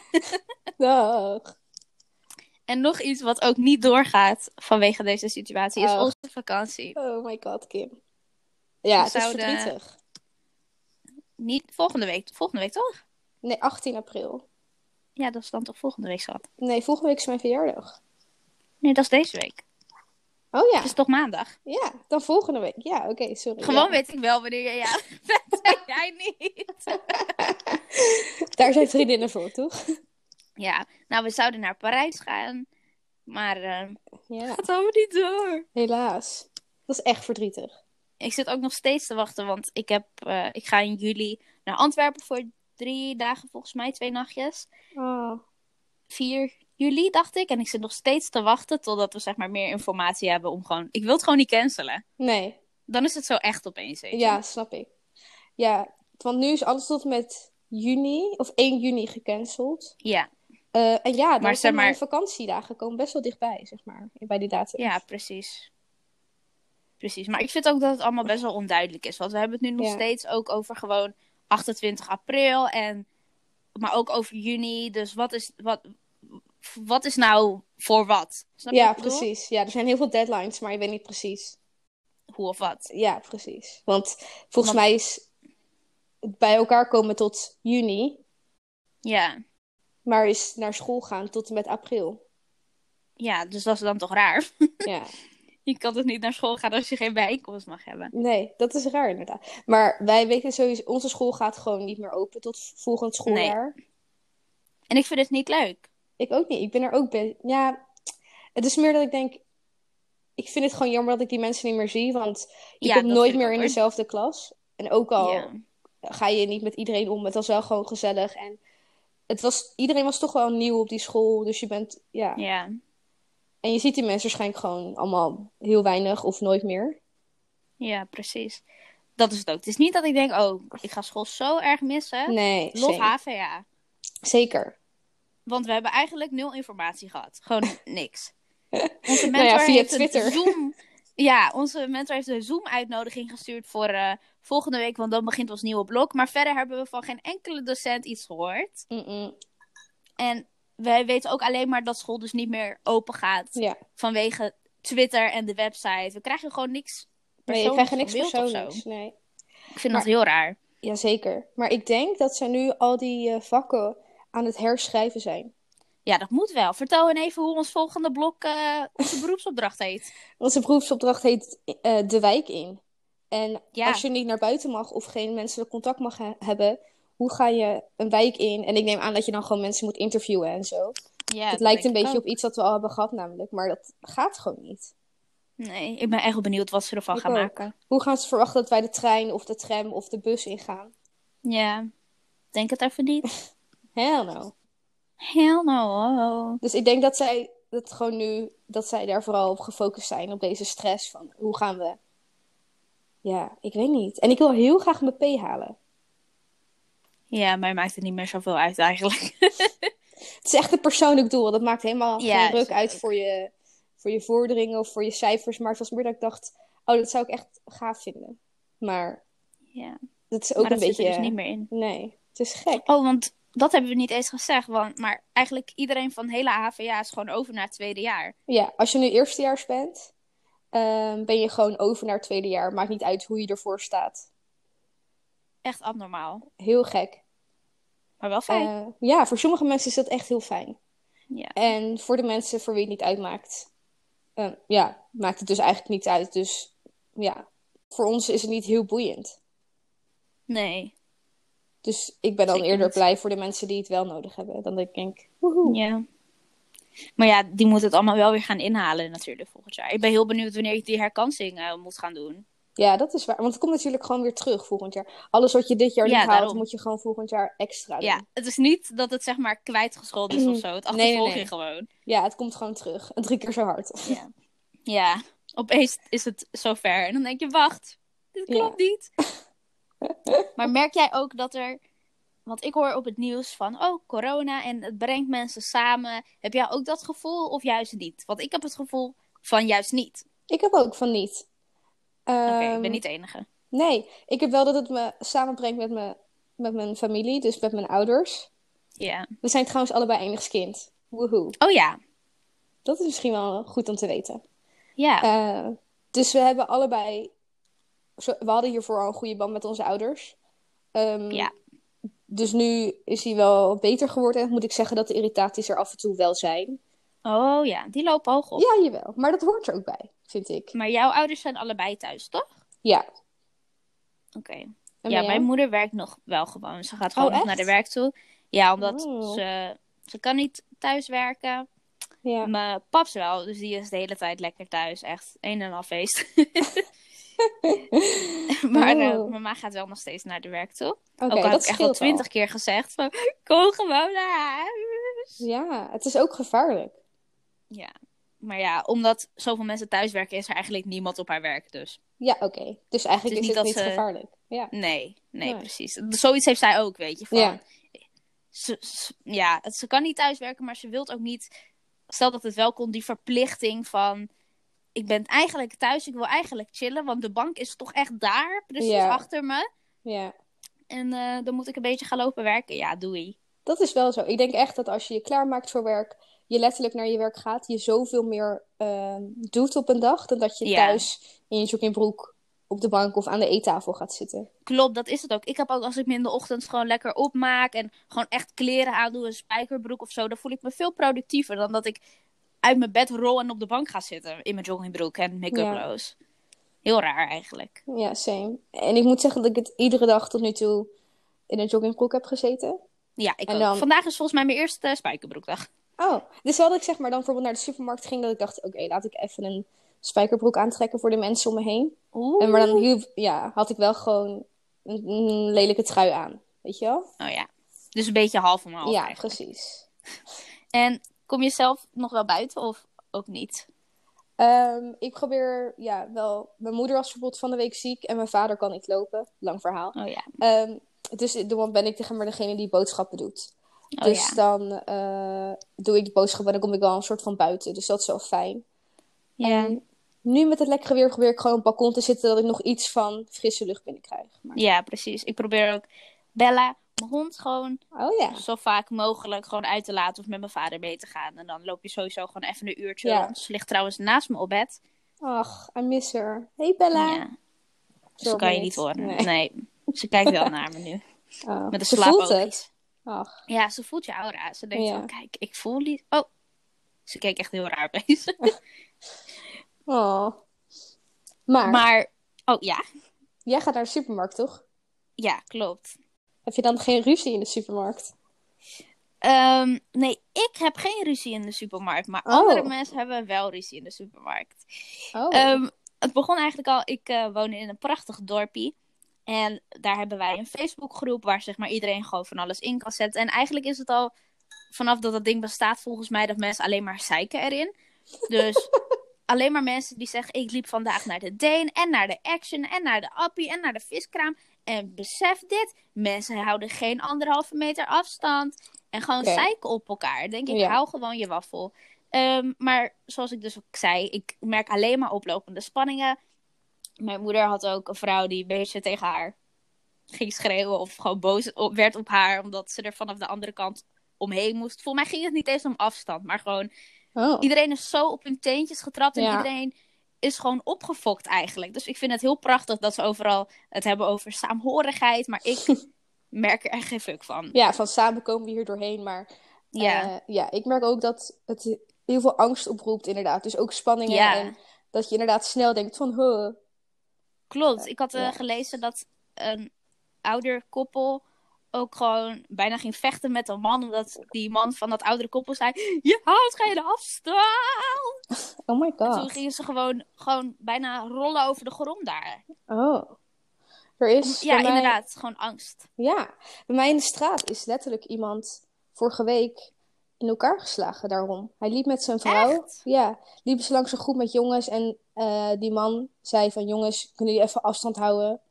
B: dag.
A: En nog iets wat ook niet doorgaat vanwege deze situatie is
B: Oh.
A: onze vakantie.
B: Oh my god, Kim. Ja,
A: We
B: het is
A: zouden-
B: verdrietig.
A: Niet volgende week. Volgende week toch?
B: Nee, 18 april.
A: Ja, dat is dan toch volgende week, schat.
B: Nee, volgende week is mijn verjaardag.
A: Nee, dat is deze week.
B: Oh ja.
A: Het is toch maandag?
B: Ja, dan volgende week. Ja, oké, sorry.
A: Gewoon
B: Ja.
A: weet ik wel wanneer jij ja (laughs) bent en jij niet.
B: Daar zijn vriendinnen voor, toch?
A: Ja, nou, we zouden naar Parijs gaan. Maar eh,
B: Ja,
A: gaat allemaal niet door.
B: helaas. Dat is echt verdrietig.
A: Ik zit ook nog steeds te wachten, want ik, heb, eh, ik ga in juli naar Antwerpen voor drie dagen, volgens mij twee nachtjes.
B: Oh.
A: 4 juli, dacht ik. En ik zit nog steeds te wachten totdat we zeg maar meer informatie hebben om gewoon... Ik wil het gewoon niet cancelen.
B: Nee,
A: Dan is het zo echt opeens, weet je.
B: ja, snap ik. Ja, want nu is alles tot en met juni, of 1 juni gecanceld.
A: Ja,
B: Eh, en ja,
A: Maar
B: dan
A: zeg
B: zijn
A: maar-
B: mijn vakantiedagen komen best wel dichtbij, zeg maar, bij die datum.
A: Ja, precies. Precies. Maar ik vind ook dat het allemaal best wel onduidelijk is. Want we hebben het nu nog
B: Ja.
A: steeds ook over gewoon 28 april. En, maar ook over juni. Dus wat is, wat, wat is nou voor wat? Snap je
B: Ja,
A: wat ik bedoel?
B: precies. Ja, er zijn heel veel deadlines, maar je weet niet precies.
A: Hoe of wat?
B: Ja, precies. Want
A: Want-
B: volgens mij is het bij elkaar komen tot juni,
A: Ja.
B: maar is naar school gaan tot en met april.
A: ja, dus dat is dan toch raar. (laughs)
B: Ja.
A: Je kan dus niet naar school gaan als je geen bijeenkomst mag hebben.
B: Nee, dat is raar inderdaad. Maar wij weten sowieso, onze school gaat gewoon niet meer open tot volgend schooljaar.
A: En ik vind het niet leuk.
B: Ik ook niet. Ik ben er ook bij. Ja, het is meer dat ik denk, ik vind het gewoon jammer dat ik die mensen niet meer zie, want je
A: Ja,
B: komt
A: dat
B: nooit
A: vind ik
B: meer in
A: ook, hoor.
B: dezelfde klas. En ook al
A: Ja.
B: ga je niet met iedereen om, het was wel gewoon gezellig en het was, iedereen was toch wel nieuw op die school, dus je bent, ja.
A: ja.
B: En je ziet die mensen waarschijnlijk gewoon allemaal heel weinig of nooit meer.
A: Ja, precies. Dat is het ook. Het is niet dat ik denk, oh, ik ga school zo erg missen.
B: Nee,
A: Lof
B: zeker.
A: HVA.
B: Zeker.
A: Want we hebben eigenlijk nul informatie gehad.
B: (laughs)
A: Gewoon niks. Onze mentor
B: Nou ja, via
A: heeft
B: Twitter.
A: een Zoom... Ja, onze mentor heeft een Zoom-uitnodiging gestuurd voor eh, volgende week, want dan begint ons nieuwe blok. Maar verder hebben we van geen enkele docent iets gehoord.
B: Mm-mm.
A: En wij weten ook alleen maar dat school dus niet meer open gaat
B: Ja.
A: vanwege Twitter en de website. We krijgen gewoon niks
B: Nee, ik
A: persoonlijks
B: krijg er niks
A: op beeld of zo.
B: persoonlijks. Nee.
A: Ik vind
B: Maar-
A: dat heel raar.
B: Jazeker. Maar ik denk dat ze nu al die eh, vakken aan het herschrijven zijn.
A: Ja, dat moet wel. Vertel hen even hoe ons volgende blok eh, onze beroepsopdracht heet.
B: Onze beroepsopdracht heet eh, De Wijk in. En
A: Ja.
B: als je niet naar buiten mag of geen menselijk contact mag he- hebben, hoe ga je een wijk in? En ik neem aan dat je dan gewoon mensen moet interviewen en zo.
A: Ja,
B: het lijkt een beetje op iets dat we al hebben gehad, namelijk, maar dat gaat gewoon niet.
A: Nee, ik ben echt wel benieuwd wat ze ervan
B: Ik
A: gaan
B: ook.
A: maken.
B: Hoe gaan ze verwachten dat wij de trein of de tram of de bus ingaan?
A: Ja, denk het even niet.
B: Hell no.
A: Hell no.
B: Dus ik denk dat zij dat gewoon nu, dat zij daar vooral op gefocust zijn, op deze stress van hoe gaan we. Ja, ik weet niet. En ik wil heel graag mijn P halen.
A: Ja, mij maakt het niet meer zoveel uit eigenlijk.
B: Het is echt een persoonlijk doel. Dat maakt helemaal
A: Ja,
B: geen
A: is
B: druk
A: het
B: uit
A: ook.
B: voor je, voor je vorderingen of voor je cijfers. Maar het was meer dat ik dacht, oh, dat zou ik echt gaaf vinden. Maar
A: ja,
B: dat is ook
A: maar dat
B: een
A: zit er
B: beetje... eh,
A: dus niet meer in.
B: Nee, het is gek.
A: Oh, want dat hebben we niet eens gezegd. Want, maar eigenlijk iedereen van hele HVA is gewoon over naar het tweede jaar.
B: Ja, als je nu eerstejaars bent, ehm, ben je gewoon over naar het tweede jaar. Maakt niet uit hoe je ervoor staat.
A: Echt abnormaal.
B: Heel gek.
A: Maar wel fijn.
B: Eh, ja, voor sommige mensen is dat echt heel fijn.
A: ja.
B: En voor de mensen voor wie het niet uitmaakt, eh, ja, maakt het dus eigenlijk niet uit. Dus ja, voor ons is het niet heel boeiend.
A: Nee.
B: Dus ik ben dan
A: Zeker
B: eerder
A: niet.
B: blij voor de mensen die het wel nodig hebben. Dan denk ik, woehoe.
A: Ja. Maar ja, die moet het allemaal wel weer gaan inhalen natuurlijk volgend jaar. Ik ben heel benieuwd wanneer je die herkansing eh, moet gaan doen.
B: Ja, dat is waar. Want het komt natuurlijk gewoon weer terug volgend jaar. Alles wat je dit jaar
A: Ja,
B: niet haalt,
A: daarom.
B: moet je gewoon volgend jaar extra doen.
A: Ja, het is niet dat het zeg maar kwijtgescholden is of zo. Het
B: (clears throat) Nee, nee,
A: achtervolg je
B: nee.
A: gewoon.
B: Ja, het komt gewoon terug. (laughs) En Drie keer zo hard.
A: Ja. ja, opeens is het zover. En dan denk je, wacht, dit
B: Ja.
A: klopt niet. (laughs) maar merk jij ook dat er... Want ik hoor op het nieuws van, oh, corona en het brengt mensen samen. Heb jij ook dat gevoel of juist niet? Want ik heb het gevoel van juist niet.
B: Ik heb ook van niet.
A: Oké, ik
B: Ehm,
A: ben niet de enige.
B: Nee, ik heb wel dat het me samenbrengt met, me, met mijn familie, dus met mijn ouders.
A: Ja.
B: We zijn trouwens allebei enigskind. kind. Woehoe.
A: Oh ja,
B: Dat is misschien wel goed om te weten.
A: ja.
B: Eh, dus we hebben allebei. zo- We hadden hiervoor al een goede band met onze ouders. Ehm,
A: Ja.
B: Dus nu is die wel beter geworden. En moet ik zeggen dat de irritaties er af en toe wel zijn.
A: Oh ja, die lopen hoog op.
B: Ja, jawel. Maar dat hoort er ook bij, vind ik.
A: Maar jouw ouders zijn allebei thuis, toch?
B: Ja.
A: Oké.
B: En
A: Ja,
B: bij
A: mijn
B: jou?
A: moeder werkt nog wel gewoon. Ze gaat gewoon nog
B: Oh, echt?
A: naar de werk toe. Ja, omdat
B: Oh.
A: ze, ze kan niet thuis werken. (laughs)
B: Ja.
A: Mijn paps wel, dus die is de hele tijd lekker thuis. Echt een en al feest.
B: (laughs)
A: maar eh,
B: Oh.
A: mama gaat wel nog steeds naar de werk toe.
B: Oké,
A: Ook al heb
B: dat
A: ik echt al
B: scheelt wel.
A: twintig keer gezegd van, kom gewoon naar huis.
B: Ja, het is ook gevaarlijk.
A: Ja, maar ja, omdat zoveel mensen thuis werken, is er eigenlijk niemand op haar werk. Dus
B: Ja, oké. Dus eigenlijk
A: Het
B: is,
A: is niet
B: het niet
A: dat eh, ze-
B: gevaarlijk. Ja.
A: nee, nee,
B: Nee.
A: precies. Zoiets heeft zij ook, weet je. Van,
B: Ja.
A: ze, ze- ja, het- ze kan niet thuiswerken, maar ze wilt ook niet. Stel dat het wel kon, die verplichting van. Ik ben eigenlijk thuis, ik wil eigenlijk chillen, want de bank is toch echt daar, precies
B: Ja.
A: achter me.
B: ja.
A: En eh, dan moet ik een beetje gaan lopen werken. Ja, doei.
B: Dat is wel zo. Ik denk echt dat als je je klaarmaakt voor werk, je letterlijk naar je werk gaat, je zoveel meer ehm, doet op een dag dan dat je
A: Ja.
B: thuis in je joggingbroek op de bank of aan de eettafel gaat zitten.
A: Klopt, dat is het ook. Ik heb ook als ik me in de ochtend gewoon lekker opmaak en gewoon echt kleren aandoe, een spijkerbroek of zo, dan voel ik me veel productiever dan dat ik uit mijn bed rol en op de bank ga zitten in mijn joggingbroek en make-uploos. Heel raar eigenlijk.
B: Ja, same. En ik moet zeggen dat ik het iedere dag tot nu toe in een joggingbroek heb gezeten.
A: Ja, ik
B: En
A: ook.
B: dan-
A: Vandaag is volgens mij mijn eerste spijkerbroekdag.
B: Oh, dus wel dat ik zeg maar dan bijvoorbeeld naar de supermarkt ging, dat ik dacht, oké, laat ik even een spijkerbroek aantrekken voor de mensen om me heen.
A: Oeh.
B: En maar dan hielp- ja, had ik wel gewoon een, een lelijke trui aan, weet je wel?
A: Oh ja. Dus een beetje half om half
B: ja,
A: eigenlijk.
B: precies.
A: En kom je zelf nog wel buiten of ook niet?
B: Ehm, ik probeer, ja, wel, mijn moeder was bijvoorbeeld van de week ziek en mijn vader kan niet lopen, lang verhaal.
A: Oh ja.
B: Ehm, dus dan ben ik tegen maar degene die boodschappen doet.
A: Oh
B: dus
A: ja.
B: dan eh, doe ik de boodschappen en dan kom ik wel een soort van buiten, dus dat is wel fijn.
A: Ja.
B: En nu met het lekkere weer probeer ik gewoon op het balkon te zitten dat ik nog iets van frisse lucht binnenkrijg. Maar...
A: ja, precies. Ik probeer ook Bella, mijn hond, gewoon
B: Oh ja.
A: zo vaak mogelijk gewoon uit te laten of met mijn vader mee te gaan. En dan loop je sowieso gewoon even een uurtje
B: Ja.
A: rond. Ze ligt trouwens naast me op bed.
B: Ach, I miss her. Hey Bella.
A: Ja.
B: Zo
A: Ze kan je
B: niet.
A: niet horen.
B: Nee.
A: Nee. Ze kijkt
B: (laughs)
A: wel naar me nu.
B: Oh,
A: Met een
B: ze voelt
A: slaapoogjes.
B: het. Ach,
A: Ja, ze voelt je aura. Ze denkt,
B: Ja.
A: oh kijk, ik voel die... Oh, ze keek echt heel raar
B: (laughs)
A: bezig.
B: oh. Maar,
A: Maar, oh ja,
B: jij gaat naar de supermarkt, toch?
A: ja, klopt.
B: Heb je dan geen ruzie in de supermarkt?
A: Ehm, nee, ik heb geen ruzie in de supermarkt. Maar
B: Oh.
A: andere mensen hebben wel ruzie in de supermarkt.
B: Oh.
A: Ehm, het begon eigenlijk al, ik eh woon in een prachtig dorpje. En daar hebben wij een Facebookgroep waar zeg maar iedereen gewoon van alles in kan zetten. En eigenlijk is het al vanaf dat dat ding bestaat volgens mij dat mensen alleen maar zeiken erin.
B: (laughs)
A: Dus alleen maar mensen die zeggen ik liep vandaag naar de Deen en naar de Action en naar de Appie en naar de viskraam. En besef dit, mensen houden geen anderhalve meter afstand. En gewoon
B: Oké.
A: zeiken op elkaar. Denk ik,
B: Ja.
A: hou gewoon je waffel. Ehm, maar zoals ik dus ook zei, ik merk alleen maar oplopende spanningen. Mijn moeder had ook een vrouw die een beetje tegen haar ging schreeuwen of gewoon boos op- werd op haar, omdat ze er vanaf de andere kant omheen moest. Volgens mij ging het niet eens om afstand, maar gewoon
B: oh.
A: iedereen is zo op hun teentjes getrapt en
B: Ja.
A: iedereen is gewoon opgefokt eigenlijk. Dus ik vind het heel prachtig dat ze overal het hebben over saamhorigheid, maar
B: (laughs)
A: ik merk er echt geen fuck van.
B: Ja, van samen komen we hier doorheen. Maar
A: Ja,
B: eh, ja, ik merk ook dat het heel veel angst oproept, inderdaad. Dus ook spanningen.
A: Ja.
B: En dat je inderdaad snel denkt van, huh.
A: klopt. Ik had eh,
B: ja.
A: gelezen dat een ouder koppel ook gewoon bijna ging vechten met een man, omdat die man van dat oudere koppel zei: je houdt geen afstand.
B: Oh my
A: En
B: god.
A: toen gingen ze gewoon, gewoon bijna rollen over de grond daar.
B: Oh. Er is
A: Ja,
B: bij mij-
A: inderdaad. Gewoon angst.
B: Ja, bij mij in de straat is letterlijk iemand vorige week in elkaar geslagen daarom. Hij liep met zijn vrouw.
A: Echt?
B: Ja, liepen ze langs een groep met jongens en eh, die man zei van jongens, kunnen jullie even afstand houden,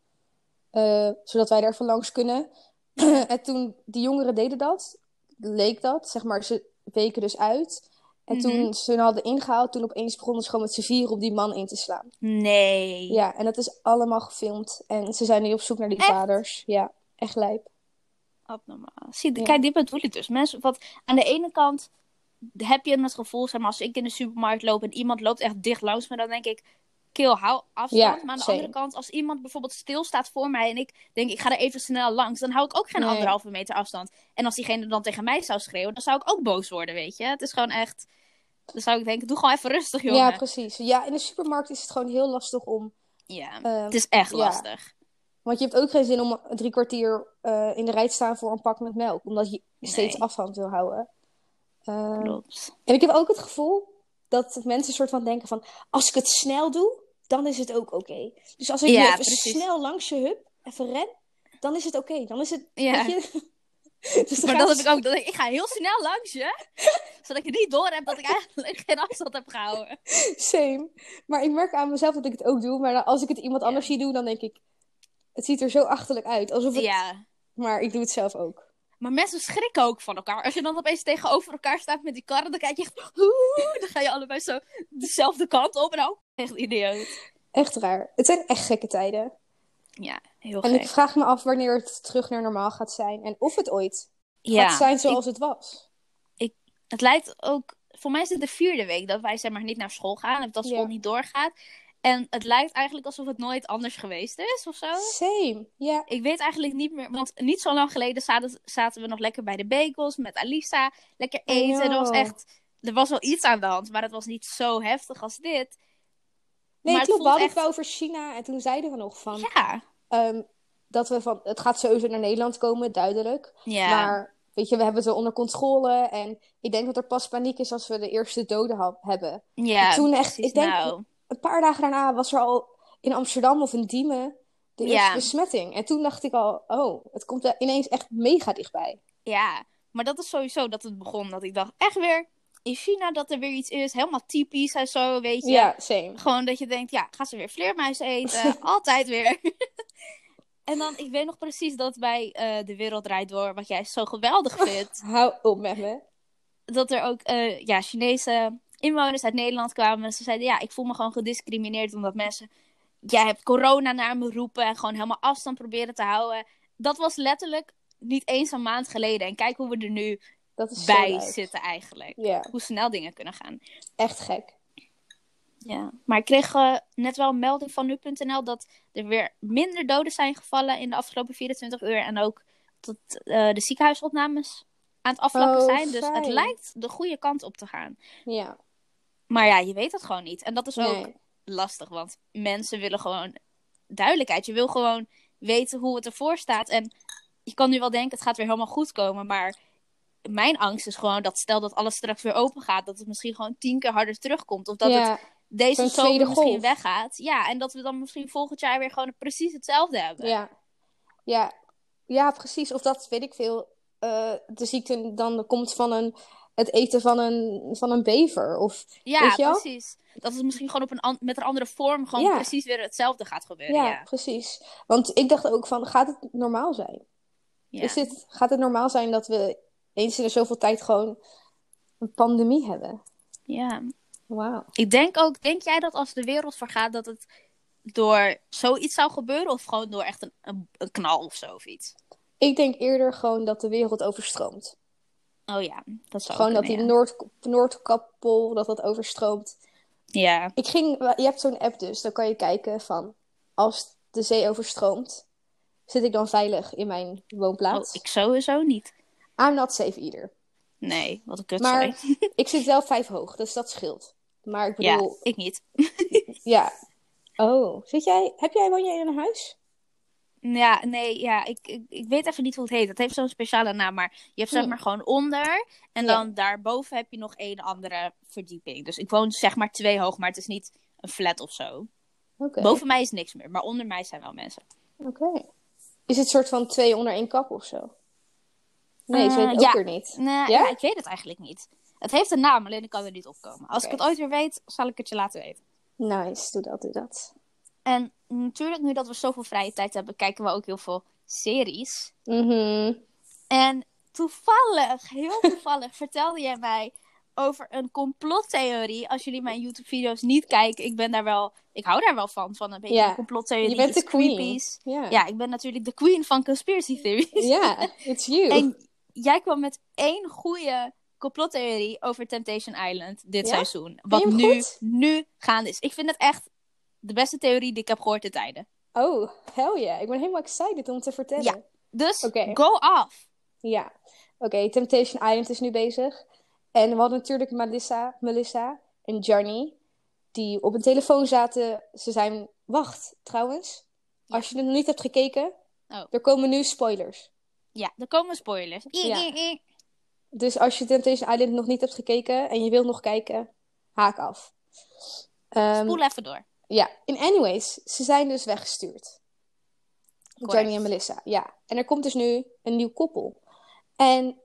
B: eh, zodat wij daar even langs kunnen. (clears throat) en toen die jongeren deden dat, leek dat, zeg maar, ze weken dus uit. En
A: Mhm.
B: toen ze hun hadden ingehaald, toen opeens begonnen ze gewoon met z'n vier op die man in te slaan.
A: Nee.
B: Ja, en dat is allemaal gefilmd. En ze zijn nu op zoek naar die
A: Echt?
B: vaders. Ja, echt lijp.
A: Abnormaal. Zie,
B: Ja.
A: Kijk, dit bedoel ik dus. Mensen, wat, aan de ene kant heb je het gevoel, zeg maar, als ik in de supermarkt loop en iemand loopt echt dicht langs me, dan denk ik, kill, hou afstand.
B: Ja,
A: maar aan de
B: same.
A: andere kant, als iemand bijvoorbeeld stilstaat voor mij en ik denk, ik ga er even snel langs, dan hou ik ook geen
B: Nee.
A: anderhalve meter afstand. En als diegene dan tegen mij zou schreeuwen, dan zou ik ook boos worden, weet je. Het is gewoon echt, dan zou ik denken, doe gewoon even rustig, jongen.
B: Ja, precies. Ja, in de supermarkt is het gewoon heel lastig om.
A: Ja,
B: ehm,
A: het is echt
B: ja.
A: lastig.
B: want je hebt ook geen zin om drie kwartier eh, in de rij te staan voor een pak met melk. Omdat je steeds
A: Nee.
B: afstand wil houden. Ehm,
A: Klopt.
B: en ik heb ook het gevoel dat mensen een soort van denken van... Als ik het snel doe, dan is het ook oké. Dus als ik nu
A: Ja,
B: even
A: precies.
B: snel langs je hup, even ren, dan is het oké. Dan is het...
A: Ja.
B: Weet je? (laughs) Dus dan
A: Maar
B: gaan
A: dat heb
B: ze-
A: ik ook. Dat ik, ik ga heel snel langs je. (laughs) zodat je niet door hebt dat ik eigenlijk geen afstand heb gehouden.
B: Same. Maar ik merk aan mezelf dat ik het ook doe. Maar dan- als ik het iemand
A: Ja.
B: anders zie doen, dan denk ik... Het ziet er zo achterlijk uit. Alsof het...
A: Ja.
B: Maar ik doe het zelf ook.
A: Maar mensen schrikken ook van elkaar. Als je dan opeens tegenover elkaar staat met die karren, dan kijk je echt. "Oeh." Dan ga je allebei zo dezelfde kant op. En ook echt idioot.
B: Echt raar. Het zijn echt gekke tijden.
A: Ja, heel
B: En ik
A: gek.
B: vraag me af wanneer het terug naar normaal gaat zijn. En of het ooit gaat
A: Ja,
B: zijn zoals het was.
A: het lijkt ook. Voor mij is het de vierde week dat wij zeg maar niet naar school gaan. Of dat school
B: Ja.
A: niet doorgaat. En het lijkt eigenlijk alsof het nooit anders geweest is of zo.
B: Same. Ja.
A: Ik weet eigenlijk niet meer, want niet zo lang geleden zaten, zaten we nog lekker bij de bagels met Alisa. Lekker
B: I
A: eten. Dat was
B: know.
A: echt er was wel iets aan de hand, maar het was niet zo heftig als dit.
B: Nee,
A: Maar het
B: klopt.
A: voelt
B: We hadden
A: echt-
B: het wel over China en toen zeiden we nog van...
A: Ja.
B: ehm, dat we van... Het gaat sowieso naar Nederland komen, duidelijk.
A: Ja.
B: Maar weet je, we hebben het wel onder controle. En ik denk dat er pas paniek is als we de eerste doden ha- hebben.
A: ja
B: toen echt-
A: precies,
B: ik denk-
A: nou.
B: Een paar dagen daarna was er al in Amsterdam of in Diemen de eerste
A: Ja.
B: besmetting. En toen dacht ik al, oh, het komt er ineens echt mega dichtbij.
A: Ja, maar dat is sowieso dat het begon. Dat ik dacht, echt weer in China dat er weer iets is. Helemaal typisch en zo, weet je.
B: Ja, same.
A: Gewoon dat je denkt, ja, gaan ze weer vleermuis
B: (laughs)
A: eten? Altijd weer. (laughs) en dan, ik weet nog precies dat bij eh, De Wereld Draait Door, wat jij zo geweldig vindt,
B: Hou op met me.
A: dat er ook eh, ja, Chinese inwoners uit Nederland kwamen. En ze zeiden, ja, ik voel me gewoon gediscrimineerd omdat mensen, jij hebt corona naar me roepen en gewoon helemaal afstand proberen te houden. Dat was letterlijk niet eens een maand geleden. En kijk hoe we er nu
B: Dat is zo
A: bij
B: lijp.
A: zitten eigenlijk.
B: Ja,
A: Hoe snel dingen kunnen gaan.
B: echt gek.
A: Ja. Maar ik kreeg eh, net wel een melding van nu.nl dat er weer minder doden zijn gevallen in de afgelopen 24 uur. En ook dat eh, de ziekenhuisopnames aan het afvlakken
B: Oh,
A: zijn. Dus het
B: fijn.
A: lijkt de goede kant op te gaan.
B: Ja,
A: Maar ja, je weet het gewoon niet. En dat is Dus ook
B: nee.
A: lastig, want mensen willen gewoon duidelijkheid. Je wil gewoon weten hoe het ervoor staat. En je kan nu wel denken, het gaat weer helemaal goed komen. Maar mijn angst is gewoon dat stel dat alles straks weer open gaat, dat het misschien gewoon tien keer harder terugkomt. Of dat
B: ja.
A: het deze
B: zo'n
A: zomer
B: tweede
A: misschien
B: golf.
A: weggaat. Ja, en dat we dan misschien volgend jaar weer gewoon precies hetzelfde hebben.
B: Ja. Ja. ja, precies. Of dat weet ik veel. eh, de ziekte dan komt van een, het eten van een, van een bever. Of,
A: Ja,
B: Weet je wel?
A: precies. Dat het misschien gewoon op een an- met een andere vorm gewoon
B: Ja.
A: precies weer hetzelfde gaat gebeuren.
B: ja,
A: Eh, Ja,
B: precies. Want ik dacht ook van, gaat het normaal zijn?
A: ja.
B: Is dit, gaat het normaal zijn dat we eens in de zoveel tijd gewoon een pandemie hebben?
A: ja.
B: Wauw.
A: Ik denk ook, denk jij dat als de wereld vergaat dat het door zoiets zou gebeuren? Of gewoon door echt een, een, een knal of zo of iets?
B: Ik denk eerder gewoon dat de wereld overstroomt.
A: Oh ja, dat zou
B: gewoon dat die
A: kunnen,
B: Noord, Noordkappel, dat dat overstroomt.
A: ja. Ja,
B: Ik ging, je hebt zo'n app dus, dan kan je kijken van als de zee overstroomt, zit ik dan veilig in mijn
A: Oh,
B: woonplaats?
A: ik sowieso niet.
B: I'm not safe either.
A: Nee, wat een kut
B: Maar
A: (laughs)
B: ik zit wel vijf hoog, dus dat scheelt. Maar ik
A: Ja,
B: bedoel,
A: ik niet.
B: ja. Oh, zit jij, heb jij, woon jij in een huis?
A: Ja, nee, ja, ik, ik, ik weet even niet hoe het heet. Het heeft zo'n speciale naam, maar je hebt zeg
B: Hm.
A: maar gewoon onder. En
B: Ja.
A: dan daarboven heb je nog één andere verdieping. Dus ik woon zeg maar twee hoog, maar het is niet een flat of zo.
B: Oké.
A: Boven mij is niks meer, maar onder mij zijn wel mensen.
B: Oké. Is het soort van twee onder één kap of zo? Nee, ze
A: Eh,
B: weet ik ook
A: ja.
B: weer niet.
A: Nee, ja? ik weet het eigenlijk niet. Het heeft een naam, alleen ik kan er niet opkomen. Als
B: Oké.
A: ik het ooit weer weet, zal ik het je laten weten.
B: Nice, doe dat, doe dat.
A: En natuurlijk, nu dat we zoveel vrije tijd hebben, kijken we ook heel veel series.
B: Mhm.
A: En toevallig,
B: (laughs)
A: heel toevallig, vertelde jij mij over een complottheorie. Als jullie mijn YouTube-video's niet kijken, ik ben daar wel, ik hou daar wel van, van een beetje
B: Ja.
A: complottheorie.
B: Je bent de queen. Ja.
A: Ja, ik ben natuurlijk de queen van conspiracy theories.
B: Ja, it's you.
A: (laughs) En jij kwam met één goede complottheorie over Temptation Island dit
B: Ja?
A: seizoen. Wat
B: je hem
A: nu,
B: goed?
A: nu gaande is. Ik vind het echt de beste theorie die ik heb gehoord te tijden.
B: Oh, hell yeah. Ik ben helemaal excited om te vertellen.
A: Ja. Dus
B: Oké.
A: go off.
B: Ja, oké. Temptation Island is nu bezig. En we hadden natuurlijk Melissa, Melissa en Johnny, die op een telefoon zaten. Ze zijn. Wacht, trouwens.
A: Ja.
B: Als je het nog niet hebt gekeken,
A: Oh.
B: er komen nu spoilers.
A: Ja, er komen spoilers.
B: Ja. Dus als je Temptation Island nog niet hebt gekeken en je wilt nog kijken, haak af. Ehm,
A: Spoel even door.
B: ja, in anyways, ze zijn dus weggestuurd. Johnny
A: Correct.
B: en Melissa, ja. En er komt dus nu een nieuw koppel. En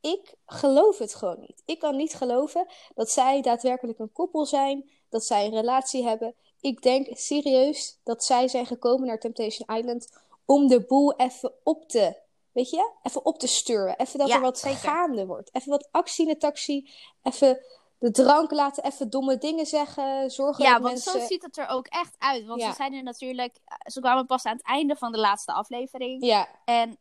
B: ik geloof het gewoon niet. Ik kan niet geloven dat zij daadwerkelijk een koppel zijn, dat zij een relatie hebben. Ik denk serieus dat zij zijn gekomen naar Temptation Island om de boel even op te, weet je, even op te sturen. Even dat
A: Ja,
B: er wat
A: zeker.
B: gaande wordt. Even wat actie in de taxi. Even de drank laten, even domme dingen zeggen. Zorgen
A: Ja,
B: dat
A: want
B: mensen...
A: zo ziet het er ook echt uit. Want
B: Ja.
A: ze zijn er natuurlijk. eh, Ze kwamen pas aan het einde van de laatste aflevering.
B: Ja,
A: En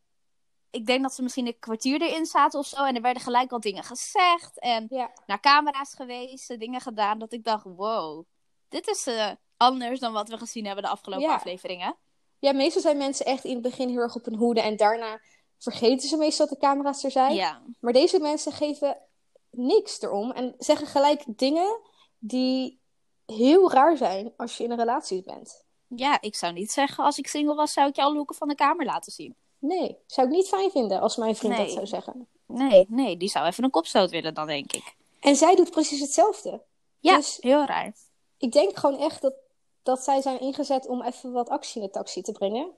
A: ik denk dat ze misschien een kwartier erin zaten of zo. En er werden gelijk al dingen gezegd. En
B: Ja.
A: naar camera's geweest, en dingen gedaan. Dat ik dacht: wow, dit is eh, anders dan wat we gezien hebben de afgelopen
B: Ja.
A: afleveringen.
B: Ja, meestal zijn mensen echt in het begin heel erg op hun hoede en daarna vergeten ze meestal dat de camera's er zijn.
A: Ja.
B: Maar deze mensen geven niks erom. En zeggen gelijk dingen die heel raar zijn als je in een relatie bent.
A: Ja, ik zou niet zeggen, als ik single was, zou ik jou hoeken van de kamer laten zien.
B: Nee, zou ik niet fijn vinden als mijn vriend dat
A: Nee.
B: zou zeggen.
A: Nee, nee, die zou even een kopstoot willen dan, denk ik.
B: En zij doet precies hetzelfde.
A: Ja,
B: Dus
A: heel raar.
B: ik denk gewoon echt dat, dat zij zijn ingezet om even wat actie in de taxi te brengen.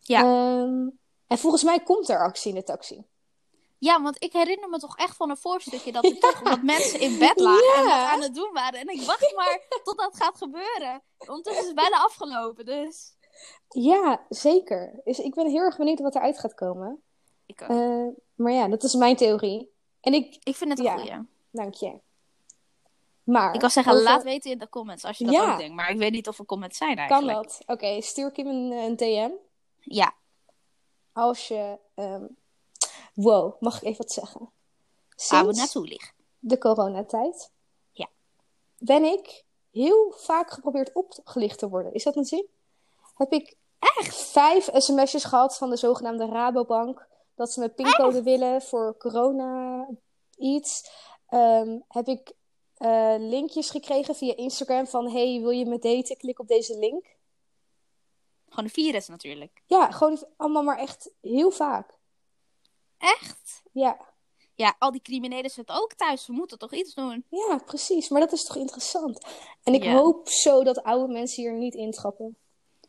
A: Ja.
B: Ehm, en volgens mij komt er actie in de taxi.
A: Ja, want ik herinner me toch echt van een voorstukje
B: (laughs)
A: dat er toch wat mensen in bed lagen en
B: Ja.
A: wat aan het doen waren. En ik wacht maar tot dat gaat gebeuren. Ondertussen is het bijna afgelopen, dus...
B: Ja, zeker. Dus ik ben heel erg benieuwd wat eruit gaat komen.
A: Ik, ook.
B: Eh, maar ja, dat is mijn theorie. En ik,
A: ik vind het een
B: ja.
A: goeie.
B: dank je. Maar
A: Ik wou zeggen,
B: over-
A: laat weten in de comments als je dat
B: Ja.
A: ook denkt. Maar ik weet niet of er comments zijn
B: Kan
A: eigenlijk.
B: dat? Oké, stuur ik hem een, eh, een DM.
A: Ja,
B: Als je. ehm, Wow, mag ik even wat zeggen?
A: gaan we
B: Sinds
A: naartoe liggen.
B: de coronatijd
A: Ja.
B: ben ik heel vaak geprobeerd opgelicht te worden. Is dat een zin? Heb ik echt vijf sms'jes gehad van de zogenaamde Rabobank. Dat ze mijn pincode willen voor corona iets. Ehm, heb ik eh, linkjes gekregen via Instagram van... hey, wil je me daten? Klik op deze link.
A: Gewoon een virus natuurlijk.
B: Ja, gewoon allemaal maar echt heel vaak.
A: Echt?
B: Ja,
A: Ja, al die criminelen zitten ook thuis. We moeten toch iets doen?
B: ja, precies. Maar dat is toch interessant? En ik
A: Ja.
B: hoop zo dat oude mensen hier niet intrappen.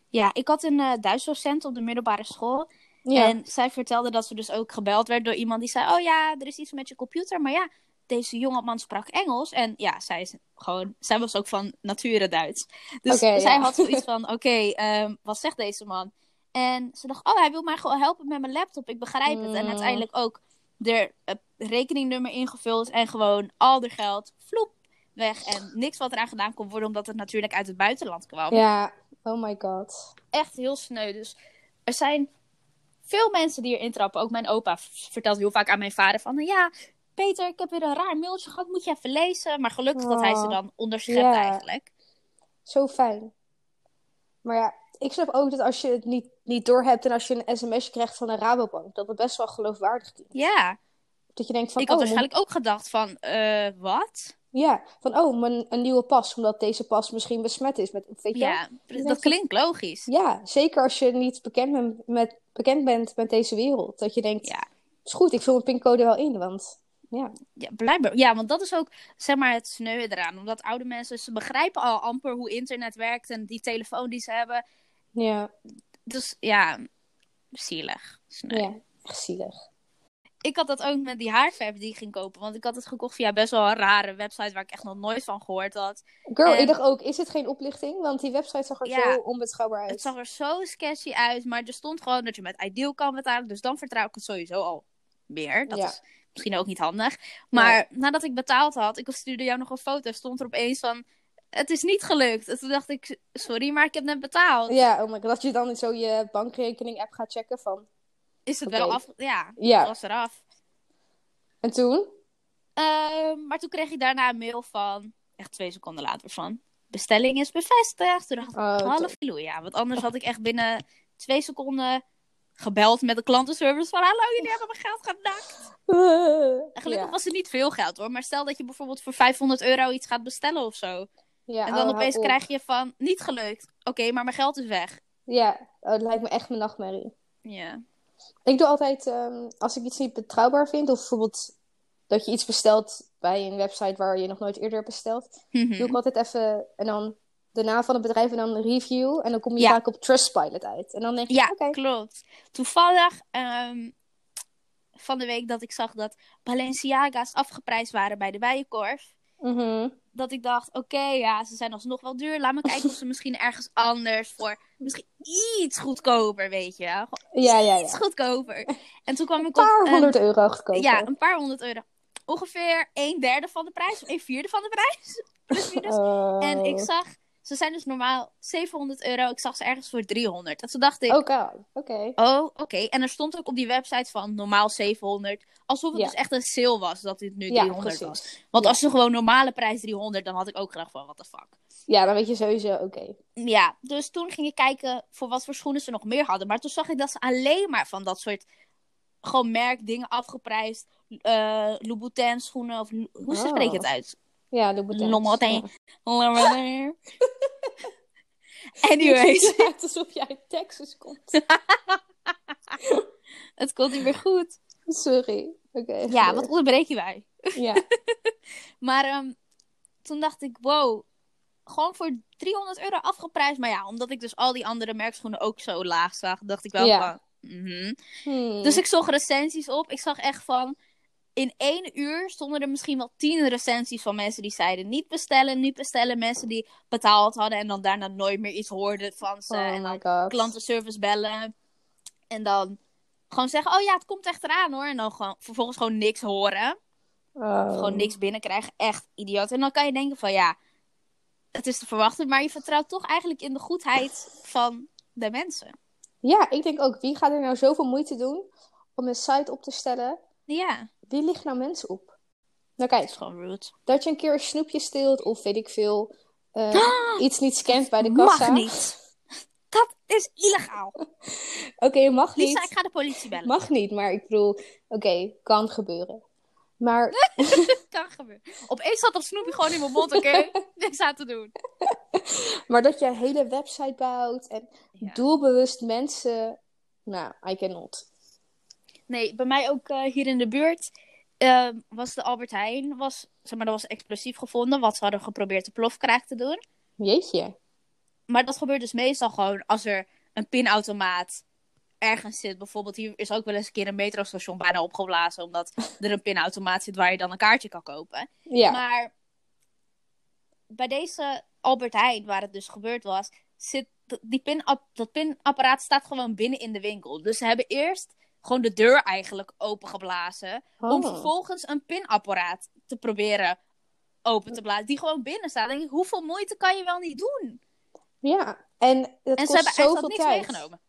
A: Ja, ik had een eh Duits docent op de middelbare school.
B: Ja,
A: En zij vertelde dat ze dus ook gebeld werd door iemand die zei... Oh ja, er is iets met je computer. Maar ja, deze jongeman sprak Engels. En ja, zij, is gewoon, zij was ook van nature Duits. Dus
B: Oké,
A: zij
B: ja.
A: had zoiets van...
B: (laughs)
A: Oké, ehm, wat zegt deze man? En ze dacht... Oh, hij wil mij gewoon helpen met mijn laptop. Ik begrijp het. En
B: Mm.
A: uiteindelijk ook er het rekeningnummer ingevuld. En gewoon al haar geld, vloep, weg. En niks wat eraan gedaan kon worden. Omdat het natuurlijk uit het buitenland kwam
B: ja. Oh my god.
A: echt heel sneu. Dus er zijn veel mensen die erin trappen. Ook mijn opa v- vertelt heel vaak aan mijn vader van... nou Ja, Peter, ik heb weer een raar mailtje gehad. Moet je even lezen? Maar gelukkig dat hij ze
B: Oh,
A: dan onderschept
B: ja.
A: eigenlijk.
B: Zo fijn. Maar ja, ik snap ook dat als je het niet, niet doorhebt en als je een sms'je krijgt van een Rabobank, dat het best wel geloofwaardig klinkt.
A: Ja,
B: Dat je denkt van,
A: ik had
B: oh, mijn-
A: waarschijnlijk ook gedacht van... eh, Wat?
B: ja, van, oh, mijn, een nieuwe pas, omdat deze pas misschien besmet is. Met, weet je wel?
A: Ja,
B: denk
A: dat
B: dat-
A: klinkt logisch.
B: Ja, zeker als je niet bekend, ben- met, bekend bent met deze wereld. Dat je denkt,
A: Ja.
B: is goed, ik vul mijn pincode wel in, want ja.
A: Ja, blijkbaar. Ja, want dat is ook zeg maar het sneu eraan. Omdat oude mensen, ze begrijpen al amper hoe internet werkt en die telefoon die ze hebben.
B: Ja,
A: Dus ja, zielig. Sneu.
B: ja. Echt zielig.
A: ik had dat ook met die haarverf die ik ging kopen. Want ik had het gekocht via best wel een rare website waar ik echt nog nooit van gehoord had.
B: Girl,
A: En-
B: ik dacht ook, is het geen oplichting? Want die website zag er
A: Ehm, Ja.
B: zo onbetrouwbaar uit.
A: Het zag er zo sketchy uit, maar er stond gewoon dat je met Ideal kan betalen. Dus dan vertrouw ik het sowieso al meer. Dat
B: Ja.
A: is misschien ook niet handig. Maar nadat ik betaald had, ik stuurde jou nog een foto, stond er opeens van... Het is niet gelukt. En toen dacht ik, sorry, maar ik heb net betaald.
B: Ja, oh my god, dat je dan zo je bankrekening-app gaat checken van...
A: Is het
B: Oké.
A: wel af? Ja, het
B: Ja,
A: was eraf.
B: en toen?
A: Ehm, maar toen kreeg ik daarna een mail van, echt twee seconden later, van bestelling is bevestigd. Toen dacht ik,
B: Oh,
A: half
B: tof.
A: halleluja. Want anders had ik echt binnen twee seconden gebeld met de klantenservice van hallo, jullie hebben mijn geld gedaan. En gelukkig
B: (laughs) ja.
A: was het niet veel geld hoor. Maar stel dat je bijvoorbeeld voor 500 euro iets gaat bestellen of zo.
B: Ja,
A: en
B: oh,
A: dan
B: hou
A: opeens
B: op.
A: krijg je van, niet gelukt. Oké, maar mijn geld is weg.
B: Ja, oh, dat lijkt me echt mijn nachtmerrie.
A: Ja.
B: Ik doe altijd, ehm, als ik iets niet betrouwbaar vind, of bijvoorbeeld dat je iets bestelt bij een website waar je nog nooit eerder hebt besteld,
A: Mhm.
B: doe ik altijd even en dan de naam van het bedrijf en dan review. En dan kom je
A: Ja.
B: vaak op Trustpilot uit. En dan denk je,
A: Ja,
B: oké.
A: klopt. Toevallig ehm, van de week dat ik zag dat Balenciaga's afgeprijsd waren bij de Bijenkorf.
B: mhm,
A: Dat ik dacht, oké, ja, ze zijn alsnog wel duur. Laat me kijken of ze misschien ergens anders voor misschien iets goedkoper, weet je. wel. Gewoon
B: Ja, ja,
A: Iets
B: ja.
A: goedkoper. En toen kwam ik
B: Een paar
A: op
B: honderd euro goedkoper.
A: een, ja, een paar honderd euro. Ongeveer een derde van de prijs, of een vierde van de prijs. (laughs) Plus minus. En ik
B: Oh.
A: zag, ze zijn dus normaal 700 euro. Ik zag ze ergens voor 300. En toen dacht ik,
B: Oké, oké.
A: Oh, oké. En er stond ook op die website van normaal 700. Alsof het
B: Ja.
A: dus echt een sale was dat dit nu
B: Ja,
A: 300 was.
B: precies.
A: Want
B: Ja.
A: als ze gewoon normale prijs 300, dan had ik ook gedacht van, what the fuck.
B: Ja, dan weet je sowieso, oké.
A: Ja, dus toen ging ik kijken voor wat voor schoenen ze nog meer hadden. Maar toen zag ik dat ze alleen maar van dat soort gewoon merkdingen afgeprijsd. eh Louboutin schoenen. Of, hoe
B: Oh.
A: spreek je het uit?
B: Ja, Louboutin.
A: Louboutin.
B: Ja. (laughs)
A: Anyways,
B: Het lijkt alsof jij uit Texas komt.
A: (laughs) het komt niet meer goed.
B: Sorry. Oké.
A: Ja, wat onderbreken wij? (laughs)
B: Ja.
A: Maar ehm, toen dacht ik, wow, gewoon voor 300 euro afgeprijsd. Maar ja, omdat ik dus al die andere merkschoenen ook zo laag zag, dacht ik wel
B: Ja.
A: van... mhm.
B: Hmm.
A: Dus ik zocht recensies op. Ik zag echt van... In één uur stonden er misschien wel tien recensies van mensen die zeiden... niet bestellen, niet bestellen. Mensen die betaald hadden en dan daarna nooit meer iets hoorden van ze.
B: Oh
A: eh, en
B: my
A: dan
B: god.
A: klantenservice bellen. En dan gewoon zeggen, oh ja, het komt echt eraan hoor. En dan gewoon, vervolgens gewoon niks horen.
B: Oh.
A: Gewoon niks binnenkrijgen. Echt idioot. En dan kan je denken van ja, het is te verwachten. Maar je vertrouwt toch eigenlijk in de goedheid van de mensen.
B: Ja, ik denk ook, wie gaat er nou zoveel moeite doen om een site op te stellen?
A: Ja,
B: Wie ligt nou mensen op? Nou
A: het
B: kijk,
A: is gewoon rude.
B: dat je een keer een snoepje steelt of weet ik veel, eh,
A: (gasps)
B: iets niet scant bij de kassa.
A: Mag niet. Dat is illegaal.
B: Oké, mag
A: Lisa, ik
B: niet.
A: ga de politie bellen.
B: Mag niet, maar ik bedoel, oké, kan gebeuren. Maar
A: Dat kan gebeuren. Opeens zat dat snoepje gewoon in mijn mond, oké?
B: (laughs)
A: (laughs) Niks aan te doen.
B: Maar dat je een hele website bouwt en
A: Ja.
B: doelbewust mensen. Nou, I cannot.
A: Nee, bij mij ook eh, hier in de buurt eh, was de Albert Heijn, was, zeg maar, dat was explosief gevonden. Wat ze hadden geprobeerd de plofkraak te doen.
B: Jeetje.
A: Maar dat gebeurt dus meestal gewoon als er een pinautomaat ergens zit. Bijvoorbeeld hier is ook wel eens een keer een metrostation bijna opgeblazen. Omdat er een pinautomaat zit waar je dan een kaartje kan kopen.
B: Ja.
A: Maar bij deze Albert Heijn, waar het dus gebeurd was, zit die pinap dat pinapparaat staat gewoon binnen in de winkel. Dus ze hebben eerst gewoon de deur eigenlijk opengeblazen. Om
B: Oh.
A: vervolgens een pinapparaat te proberen open te blazen. Die gewoon binnen staat. Dan denk ik, hoeveel moeite kan je wel niet doen?
B: Ja. En dat
A: en ze
B: kost
A: hebben echt
B: zoveel
A: niks
B: tijd.
A: meegenomen.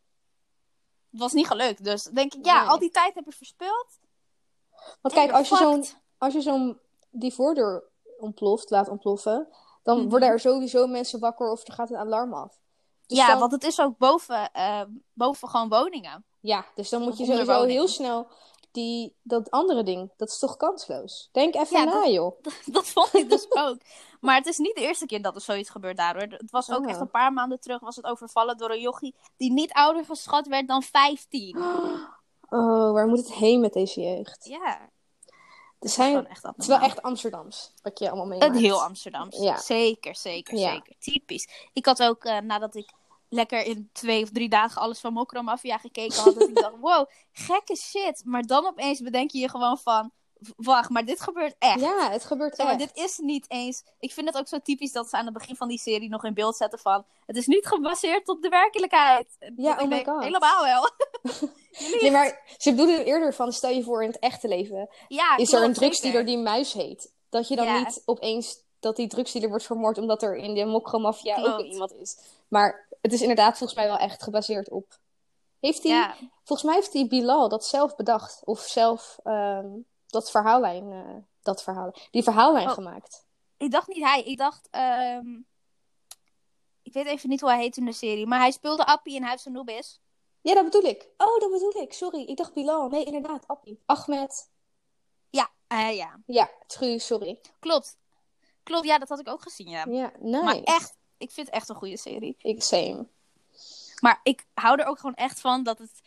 A: Het was niet gelukt. Dus dan denk ik, ja,
B: Nee.
A: al die tijd heb je verspild.
B: Want
A: En
B: kijk, als je zo'n
A: fucked.
B: als je zo'n die voordeur ontploft, laat ontploffen, dan
A: Mhm.
B: worden er sowieso mensen wakker of er gaat een alarm af. Dus
A: ja,
B: dan,
A: want het is ook boven, eh, boven gewoon woningen.
B: ja, dus dan moet je
A: Onder de
B: sowieso
A: woning.
B: heel snel die, dat andere ding, dat is toch kansloos? Denk even
A: Ja,
B: na,
A: dat-
B: joh.
A: (laughs) Dat vond ik
B: (laughs)
A: dus ook. Maar het is niet de eerste keer dat er zoiets gebeurt daar hoor. Het was ook
B: Oh.
A: echt een paar maanden terug was het overvallen door een jochie die niet ouder geschat werd dan
B: (gasps)
A: 15.
B: Oh, waar moet het heen met deze jeugd?
A: Ja,
B: Er
A: dat is
B: zijn
A: gewoon echt
B: Het is wel
A: abnormaal.
B: echt Amsterdams, wat je allemaal meemaakt.
A: Het heel Amsterdams.
B: Ja.
A: Zeker, zeker,
B: Ja.
A: zeker. Typisch. Ik had ook, eh, nadat ik lekker in twee of drie dagen alles van Mokro Mafia gekeken had, dat ik dacht, (laughs) wow, gekke shit. Maar dan opeens bedenk je je gewoon van, w- wacht, maar dit gebeurt echt.
B: Ja, het gebeurt
A: Zeg maar,
B: echt.
A: dit is niet eens... Ik vind het ook zo typisch dat ze aan het begin van die serie nog in beeld zetten van... Het is niet gebaseerd op de werkelijkheid. En
B: Ja,
A: ik
B: oh my
A: denk,
B: god.
A: Helemaal
B: (laughs)
A: wel.
B: Nee, maar ze bedoelden eerder van, stel je voor in het echte leven,
A: Ja,
B: is
A: klopt,
B: er een
A: zeker.
B: drugsdealer die Muis heet. Dat je dan
A: Ja.
B: niet opeens dat die drugsdealer wordt vermoord omdat er in de mokromafia ook
A: Klopt.
B: iemand is. Maar het is inderdaad volgens mij wel echt gebaseerd op... Heeft die,
A: Ja,
B: Volgens mij heeft die Bilal dat zelf bedacht. Of zelf ehm, dat verhaallijn, eh, dat verhaal, die verhaallijn
A: Oh.
B: gemaakt.
A: Ik dacht niet hij. Ik dacht. ehm, Ik weet even niet hoe hij heet in de serie. Maar hij speelde Appie in Huis van Noobis.
B: Ja, dat bedoel ik. Oh, dat bedoel ik. Sorry, ik dacht Bilal. Nee, inderdaad, Appie. Ahmed.
A: Eh, ja,
B: Ja, Tru, sorry.
A: klopt. Klopt, ja, dat had ik ook gezien. Ja.
B: Ja, nice.
A: Maar echt, ik vind het echt een goede serie.
B: Ik same.
A: Maar ik hou er ook gewoon echt van dat het,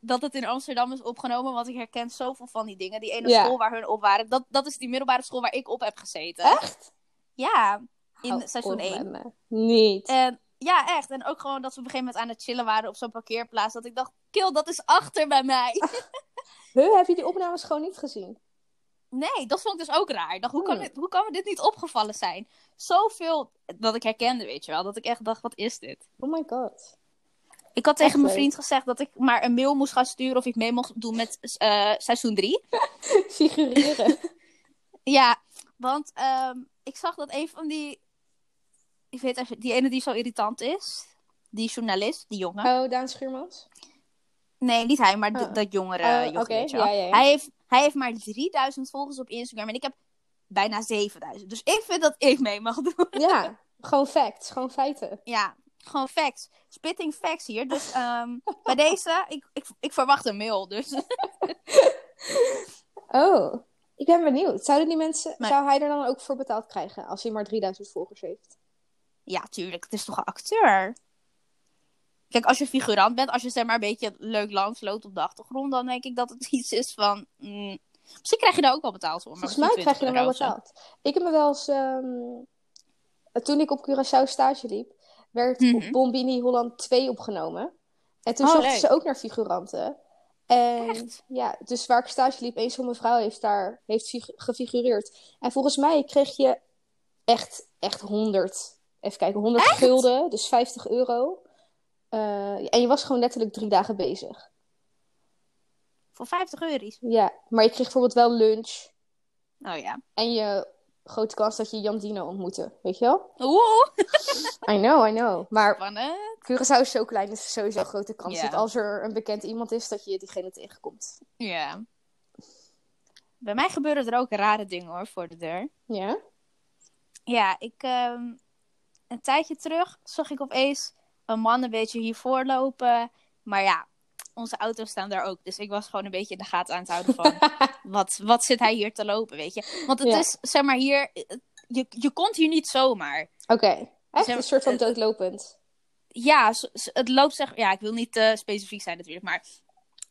A: dat het in Amsterdam is opgenomen. Want ik herken zoveel van die dingen. Die ene
B: Ja.
A: school waar hun op waren. Dat, dat is die middelbare school waar ik op heb gezeten.
B: Echt? Oh,
A: Ja, in
B: Hou
A: seizoen Eh.
B: op
A: 1.
B: met me. Niet.
A: En ja, echt. En ook gewoon dat we op een gegeven moment aan het chillen waren op zo'n parkeerplaats. Dat ik dacht, kill, dat is achter bij mij.
B: (laughs) Huh, heb je die opnames gewoon niet gezien?
A: Nee, dat vond ik dus ook raar. Ik dacht, hoe, kan
B: Hmm.
A: dit, hoe kan me dit niet opgevallen zijn? Zoveel dat ik herkende, weet je wel. Dat ik echt dacht, wat is dit?
B: Oh my god.
A: Ik had tegen
B: Echt
A: mijn
B: leuk.
A: vriend gezegd dat ik maar een mail moest gaan sturen... of ik mee mocht doen met eh, seizoen 3. (laughs)
B: (laughs) Figureren.
A: Ja, want ehm, ik zag dat een van die... Ik weet even, die ene die zo irritant is. Die journalist, die jongen.
B: Oh, Daan Schuurmans?
A: Nee, niet hij, maar d-
B: Oh.
A: dat jongere
B: Oh,
A: jochie,
B: oké.
A: weet je wel.
B: Ja, ja, ja.
A: Hij, heeft, hij heeft maar 3000 volgers op Instagram en ik heb bijna 7000. Dus ik vind dat ik mee mag doen.
B: Ja, gewoon facts. Gewoon feiten.
A: Ja, gewoon facts. Spitting facts hier. Dus
B: (laughs)
A: ehm, bij deze, ik, ik, ik verwacht een mail. Dus.
B: Oké, Oh, ik ben benieuwd. Zouden die mensen,
A: Maar-
B: zou hij er dan ook voor betaald krijgen als hij maar 3000 volgers heeft?
A: Ja, tuurlijk. Het is toch een acteur? Kijk, als je figurant bent, als je zeg maar een beetje leuk landsloopt op de achtergrond, dan denk ik dat het iets is van. mm, misschien krijg je daar ook wel betaald voor. maar
B: Volgens mij
A: misschien
B: krijg je er
A: 20
B: wel
A: euro of zo.
B: betaald. Ik heb me wel eens, ehm, toen ik op Curaçao stage liep, werd
A: Mhm.
B: op Bombini Holland 2 opgenomen. En toen
A: Oh,
B: zochten
A: leuk.
B: ze ook naar figuranten. En
A: Echt?
B: ja, dus waar ik stage liep, een zo'n mevrouw heeft daar heeft figu- gefigureerd. En volgens mij kreeg je echt, echt 100, even kijken, 100 gulden, dus 50 euro. Eh, en je was gewoon letterlijk drie dagen bezig.
A: Voor 50 euro.
B: Ja, maar je kreeg bijvoorbeeld wel lunch. Nou
A: Oh ja.
B: En je grote kans dat je Jan Dino ontmoette, weet je wel?
A: Oeh,
B: I know, I know. Maar
A: van, eh,
B: Curaçao is zo klein, dus sowieso een grote kans
A: Ja.
B: dat als er een bekend iemand is, dat je diegene tegenkomt.
A: Ja. Bij mij gebeuren er ook rare dingen hoor, voor de deur.
B: Ja?
A: Ja, ik. ehm, een tijdje terug zag ik opeens een man een beetje hiervoor lopen. Maar ja, onze auto's staan daar ook. Dus ik was gewoon een beetje in de gaten aan het houden van. wat, wat zit hij hier te lopen, weet je? Want het
B: Ja.
A: is, zeg maar, hier. eh, Je, je komt hier niet zomaar.
B: Oké. Echt
A: Zeg-
B: een soort van
A: eh,
B: doodlopend.
A: Ja, zo- zo- het loopt zeg. Ja, ik wil niet eh, specifiek zijn natuurlijk, maar.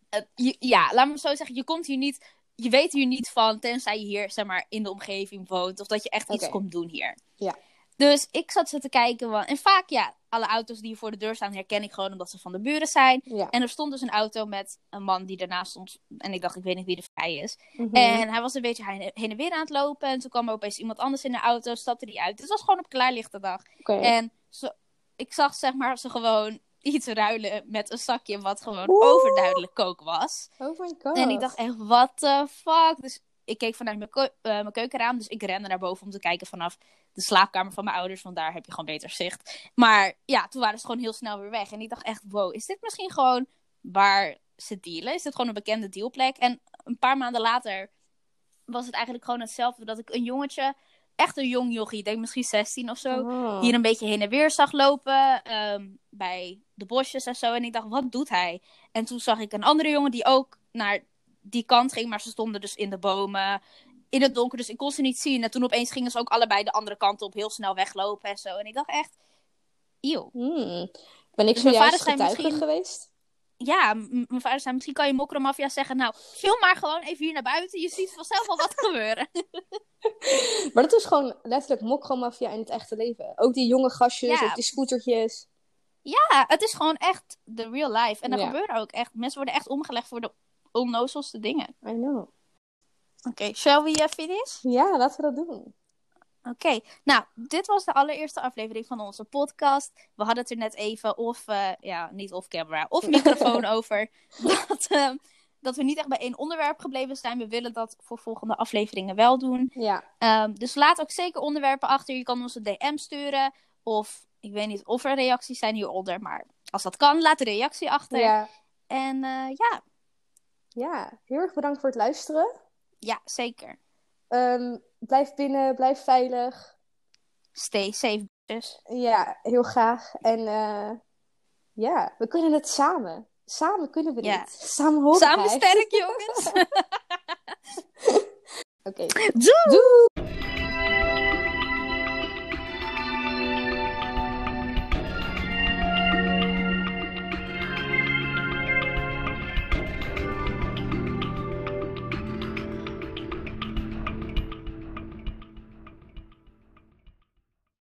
A: eh, je- ja, laat me zo zeggen. Je komt hier niet. Je weet hier niet van, tenzij je hier, zeg maar, in de omgeving woont. Of dat je echt iets
B: Oké.
A: komt doen hier.
B: Ja.
A: Dus ik zat ze te kijken. Want, en vaak, ja, alle auto's die hier voor de deur staan, herken ik gewoon omdat ze van de buren zijn.
B: Ja.
A: En er stond dus een auto met een man die daarnaast stond. En ik dacht, ik weet niet wie de vrij is.
B: Mhm.
A: En hij was een beetje heen- heen en weer aan het lopen. En toen kwam er opeens iemand anders in de auto, stapte die uit. Dus het was gewoon op klaarlichte dag.
B: Oké.
A: En ze- ik zag zeg maar ze gewoon iets ruilen met een zakje wat gewoon
B: Oeh.
A: overduidelijk kook was.
B: Oh my god.
A: En ik dacht echt, what the fuck? Dus ik keek vanuit mijn, keu- eh, mijn keukenraam. Dus ik rende naar boven om te kijken vanaf de slaapkamer van mijn ouders. Want daar heb je gewoon beter zicht. Maar ja, toen waren ze gewoon heel snel weer weg. En ik dacht echt, wow, is dit misschien gewoon waar ze dealen? Is dit gewoon een bekende dealplek? En een paar maanden later was het eigenlijk gewoon hetzelfde. Dat ik een jongetje, echt een jong jochie, ik denk misschien 16 of zo
B: Oh.
A: hier een beetje heen en weer zag lopen ehm, bij de bosjes en zo. En ik dacht, wat doet hij? En toen zag ik een andere jongen die ook naar die kant ging, maar ze stonden dus in de bomen, in het donker, dus ik kon ze niet zien. En toen opeens gingen ze ook allebei de andere kant op, heel snel weglopen en zo. En ik dacht echt, eeuw.
B: Hmm. Ben ik
A: Dus mijn
B: zojuist
A: vader zei
B: getuige
A: misschien-
B: geweest?
A: Ja, m- mijn vader zei, misschien kan je mokromafia zeggen, nou, film maar gewoon even hier naar buiten, je ziet vanzelf al wat (laughs) gebeuren.
B: Maar dat is gewoon letterlijk mokromafia in het echte leven. Ook die jonge gastjes,
A: Ja.
B: ook die scootertjes.
A: Ja, het is gewoon echt de real life. En er
B: Ja.
A: gebeuren ook echt, mensen worden echt omgelegd voor de onnozelste dingen.
B: I know.
A: Oké, shall we eh, finish?
B: Ja, laten we dat doen.
A: Oké, nou, dit was de allereerste aflevering van onze podcast. We hadden het er net even of, eh, ja, niet of camera, of microfoon over. Dat, ehm, dat we niet echt bij één onderwerp gebleven zijn. We willen dat voor volgende afleveringen wel doen.
B: Ja.
A: Ehm, dus laat ook zeker onderwerpen achter. Je kan ons een DM sturen. Of, ik weet niet of er reacties zijn hieronder. Maar als dat kan, laat een reactie achter.
B: Ja.
A: En eh, ja,
B: ja, heel erg bedankt voor het luisteren.
A: ja, zeker.
B: Ehm, blijf binnen, blijf veilig.
A: Stay safe, dus.
B: Ja, heel graag. En eh, ja, we kunnen het samen. Samen kunnen we
A: Ja.
B: dit. Samen horen
A: Samen
B: wij.
A: sterk, jongens.
B: Oké.
A: Doei!
B: Doei!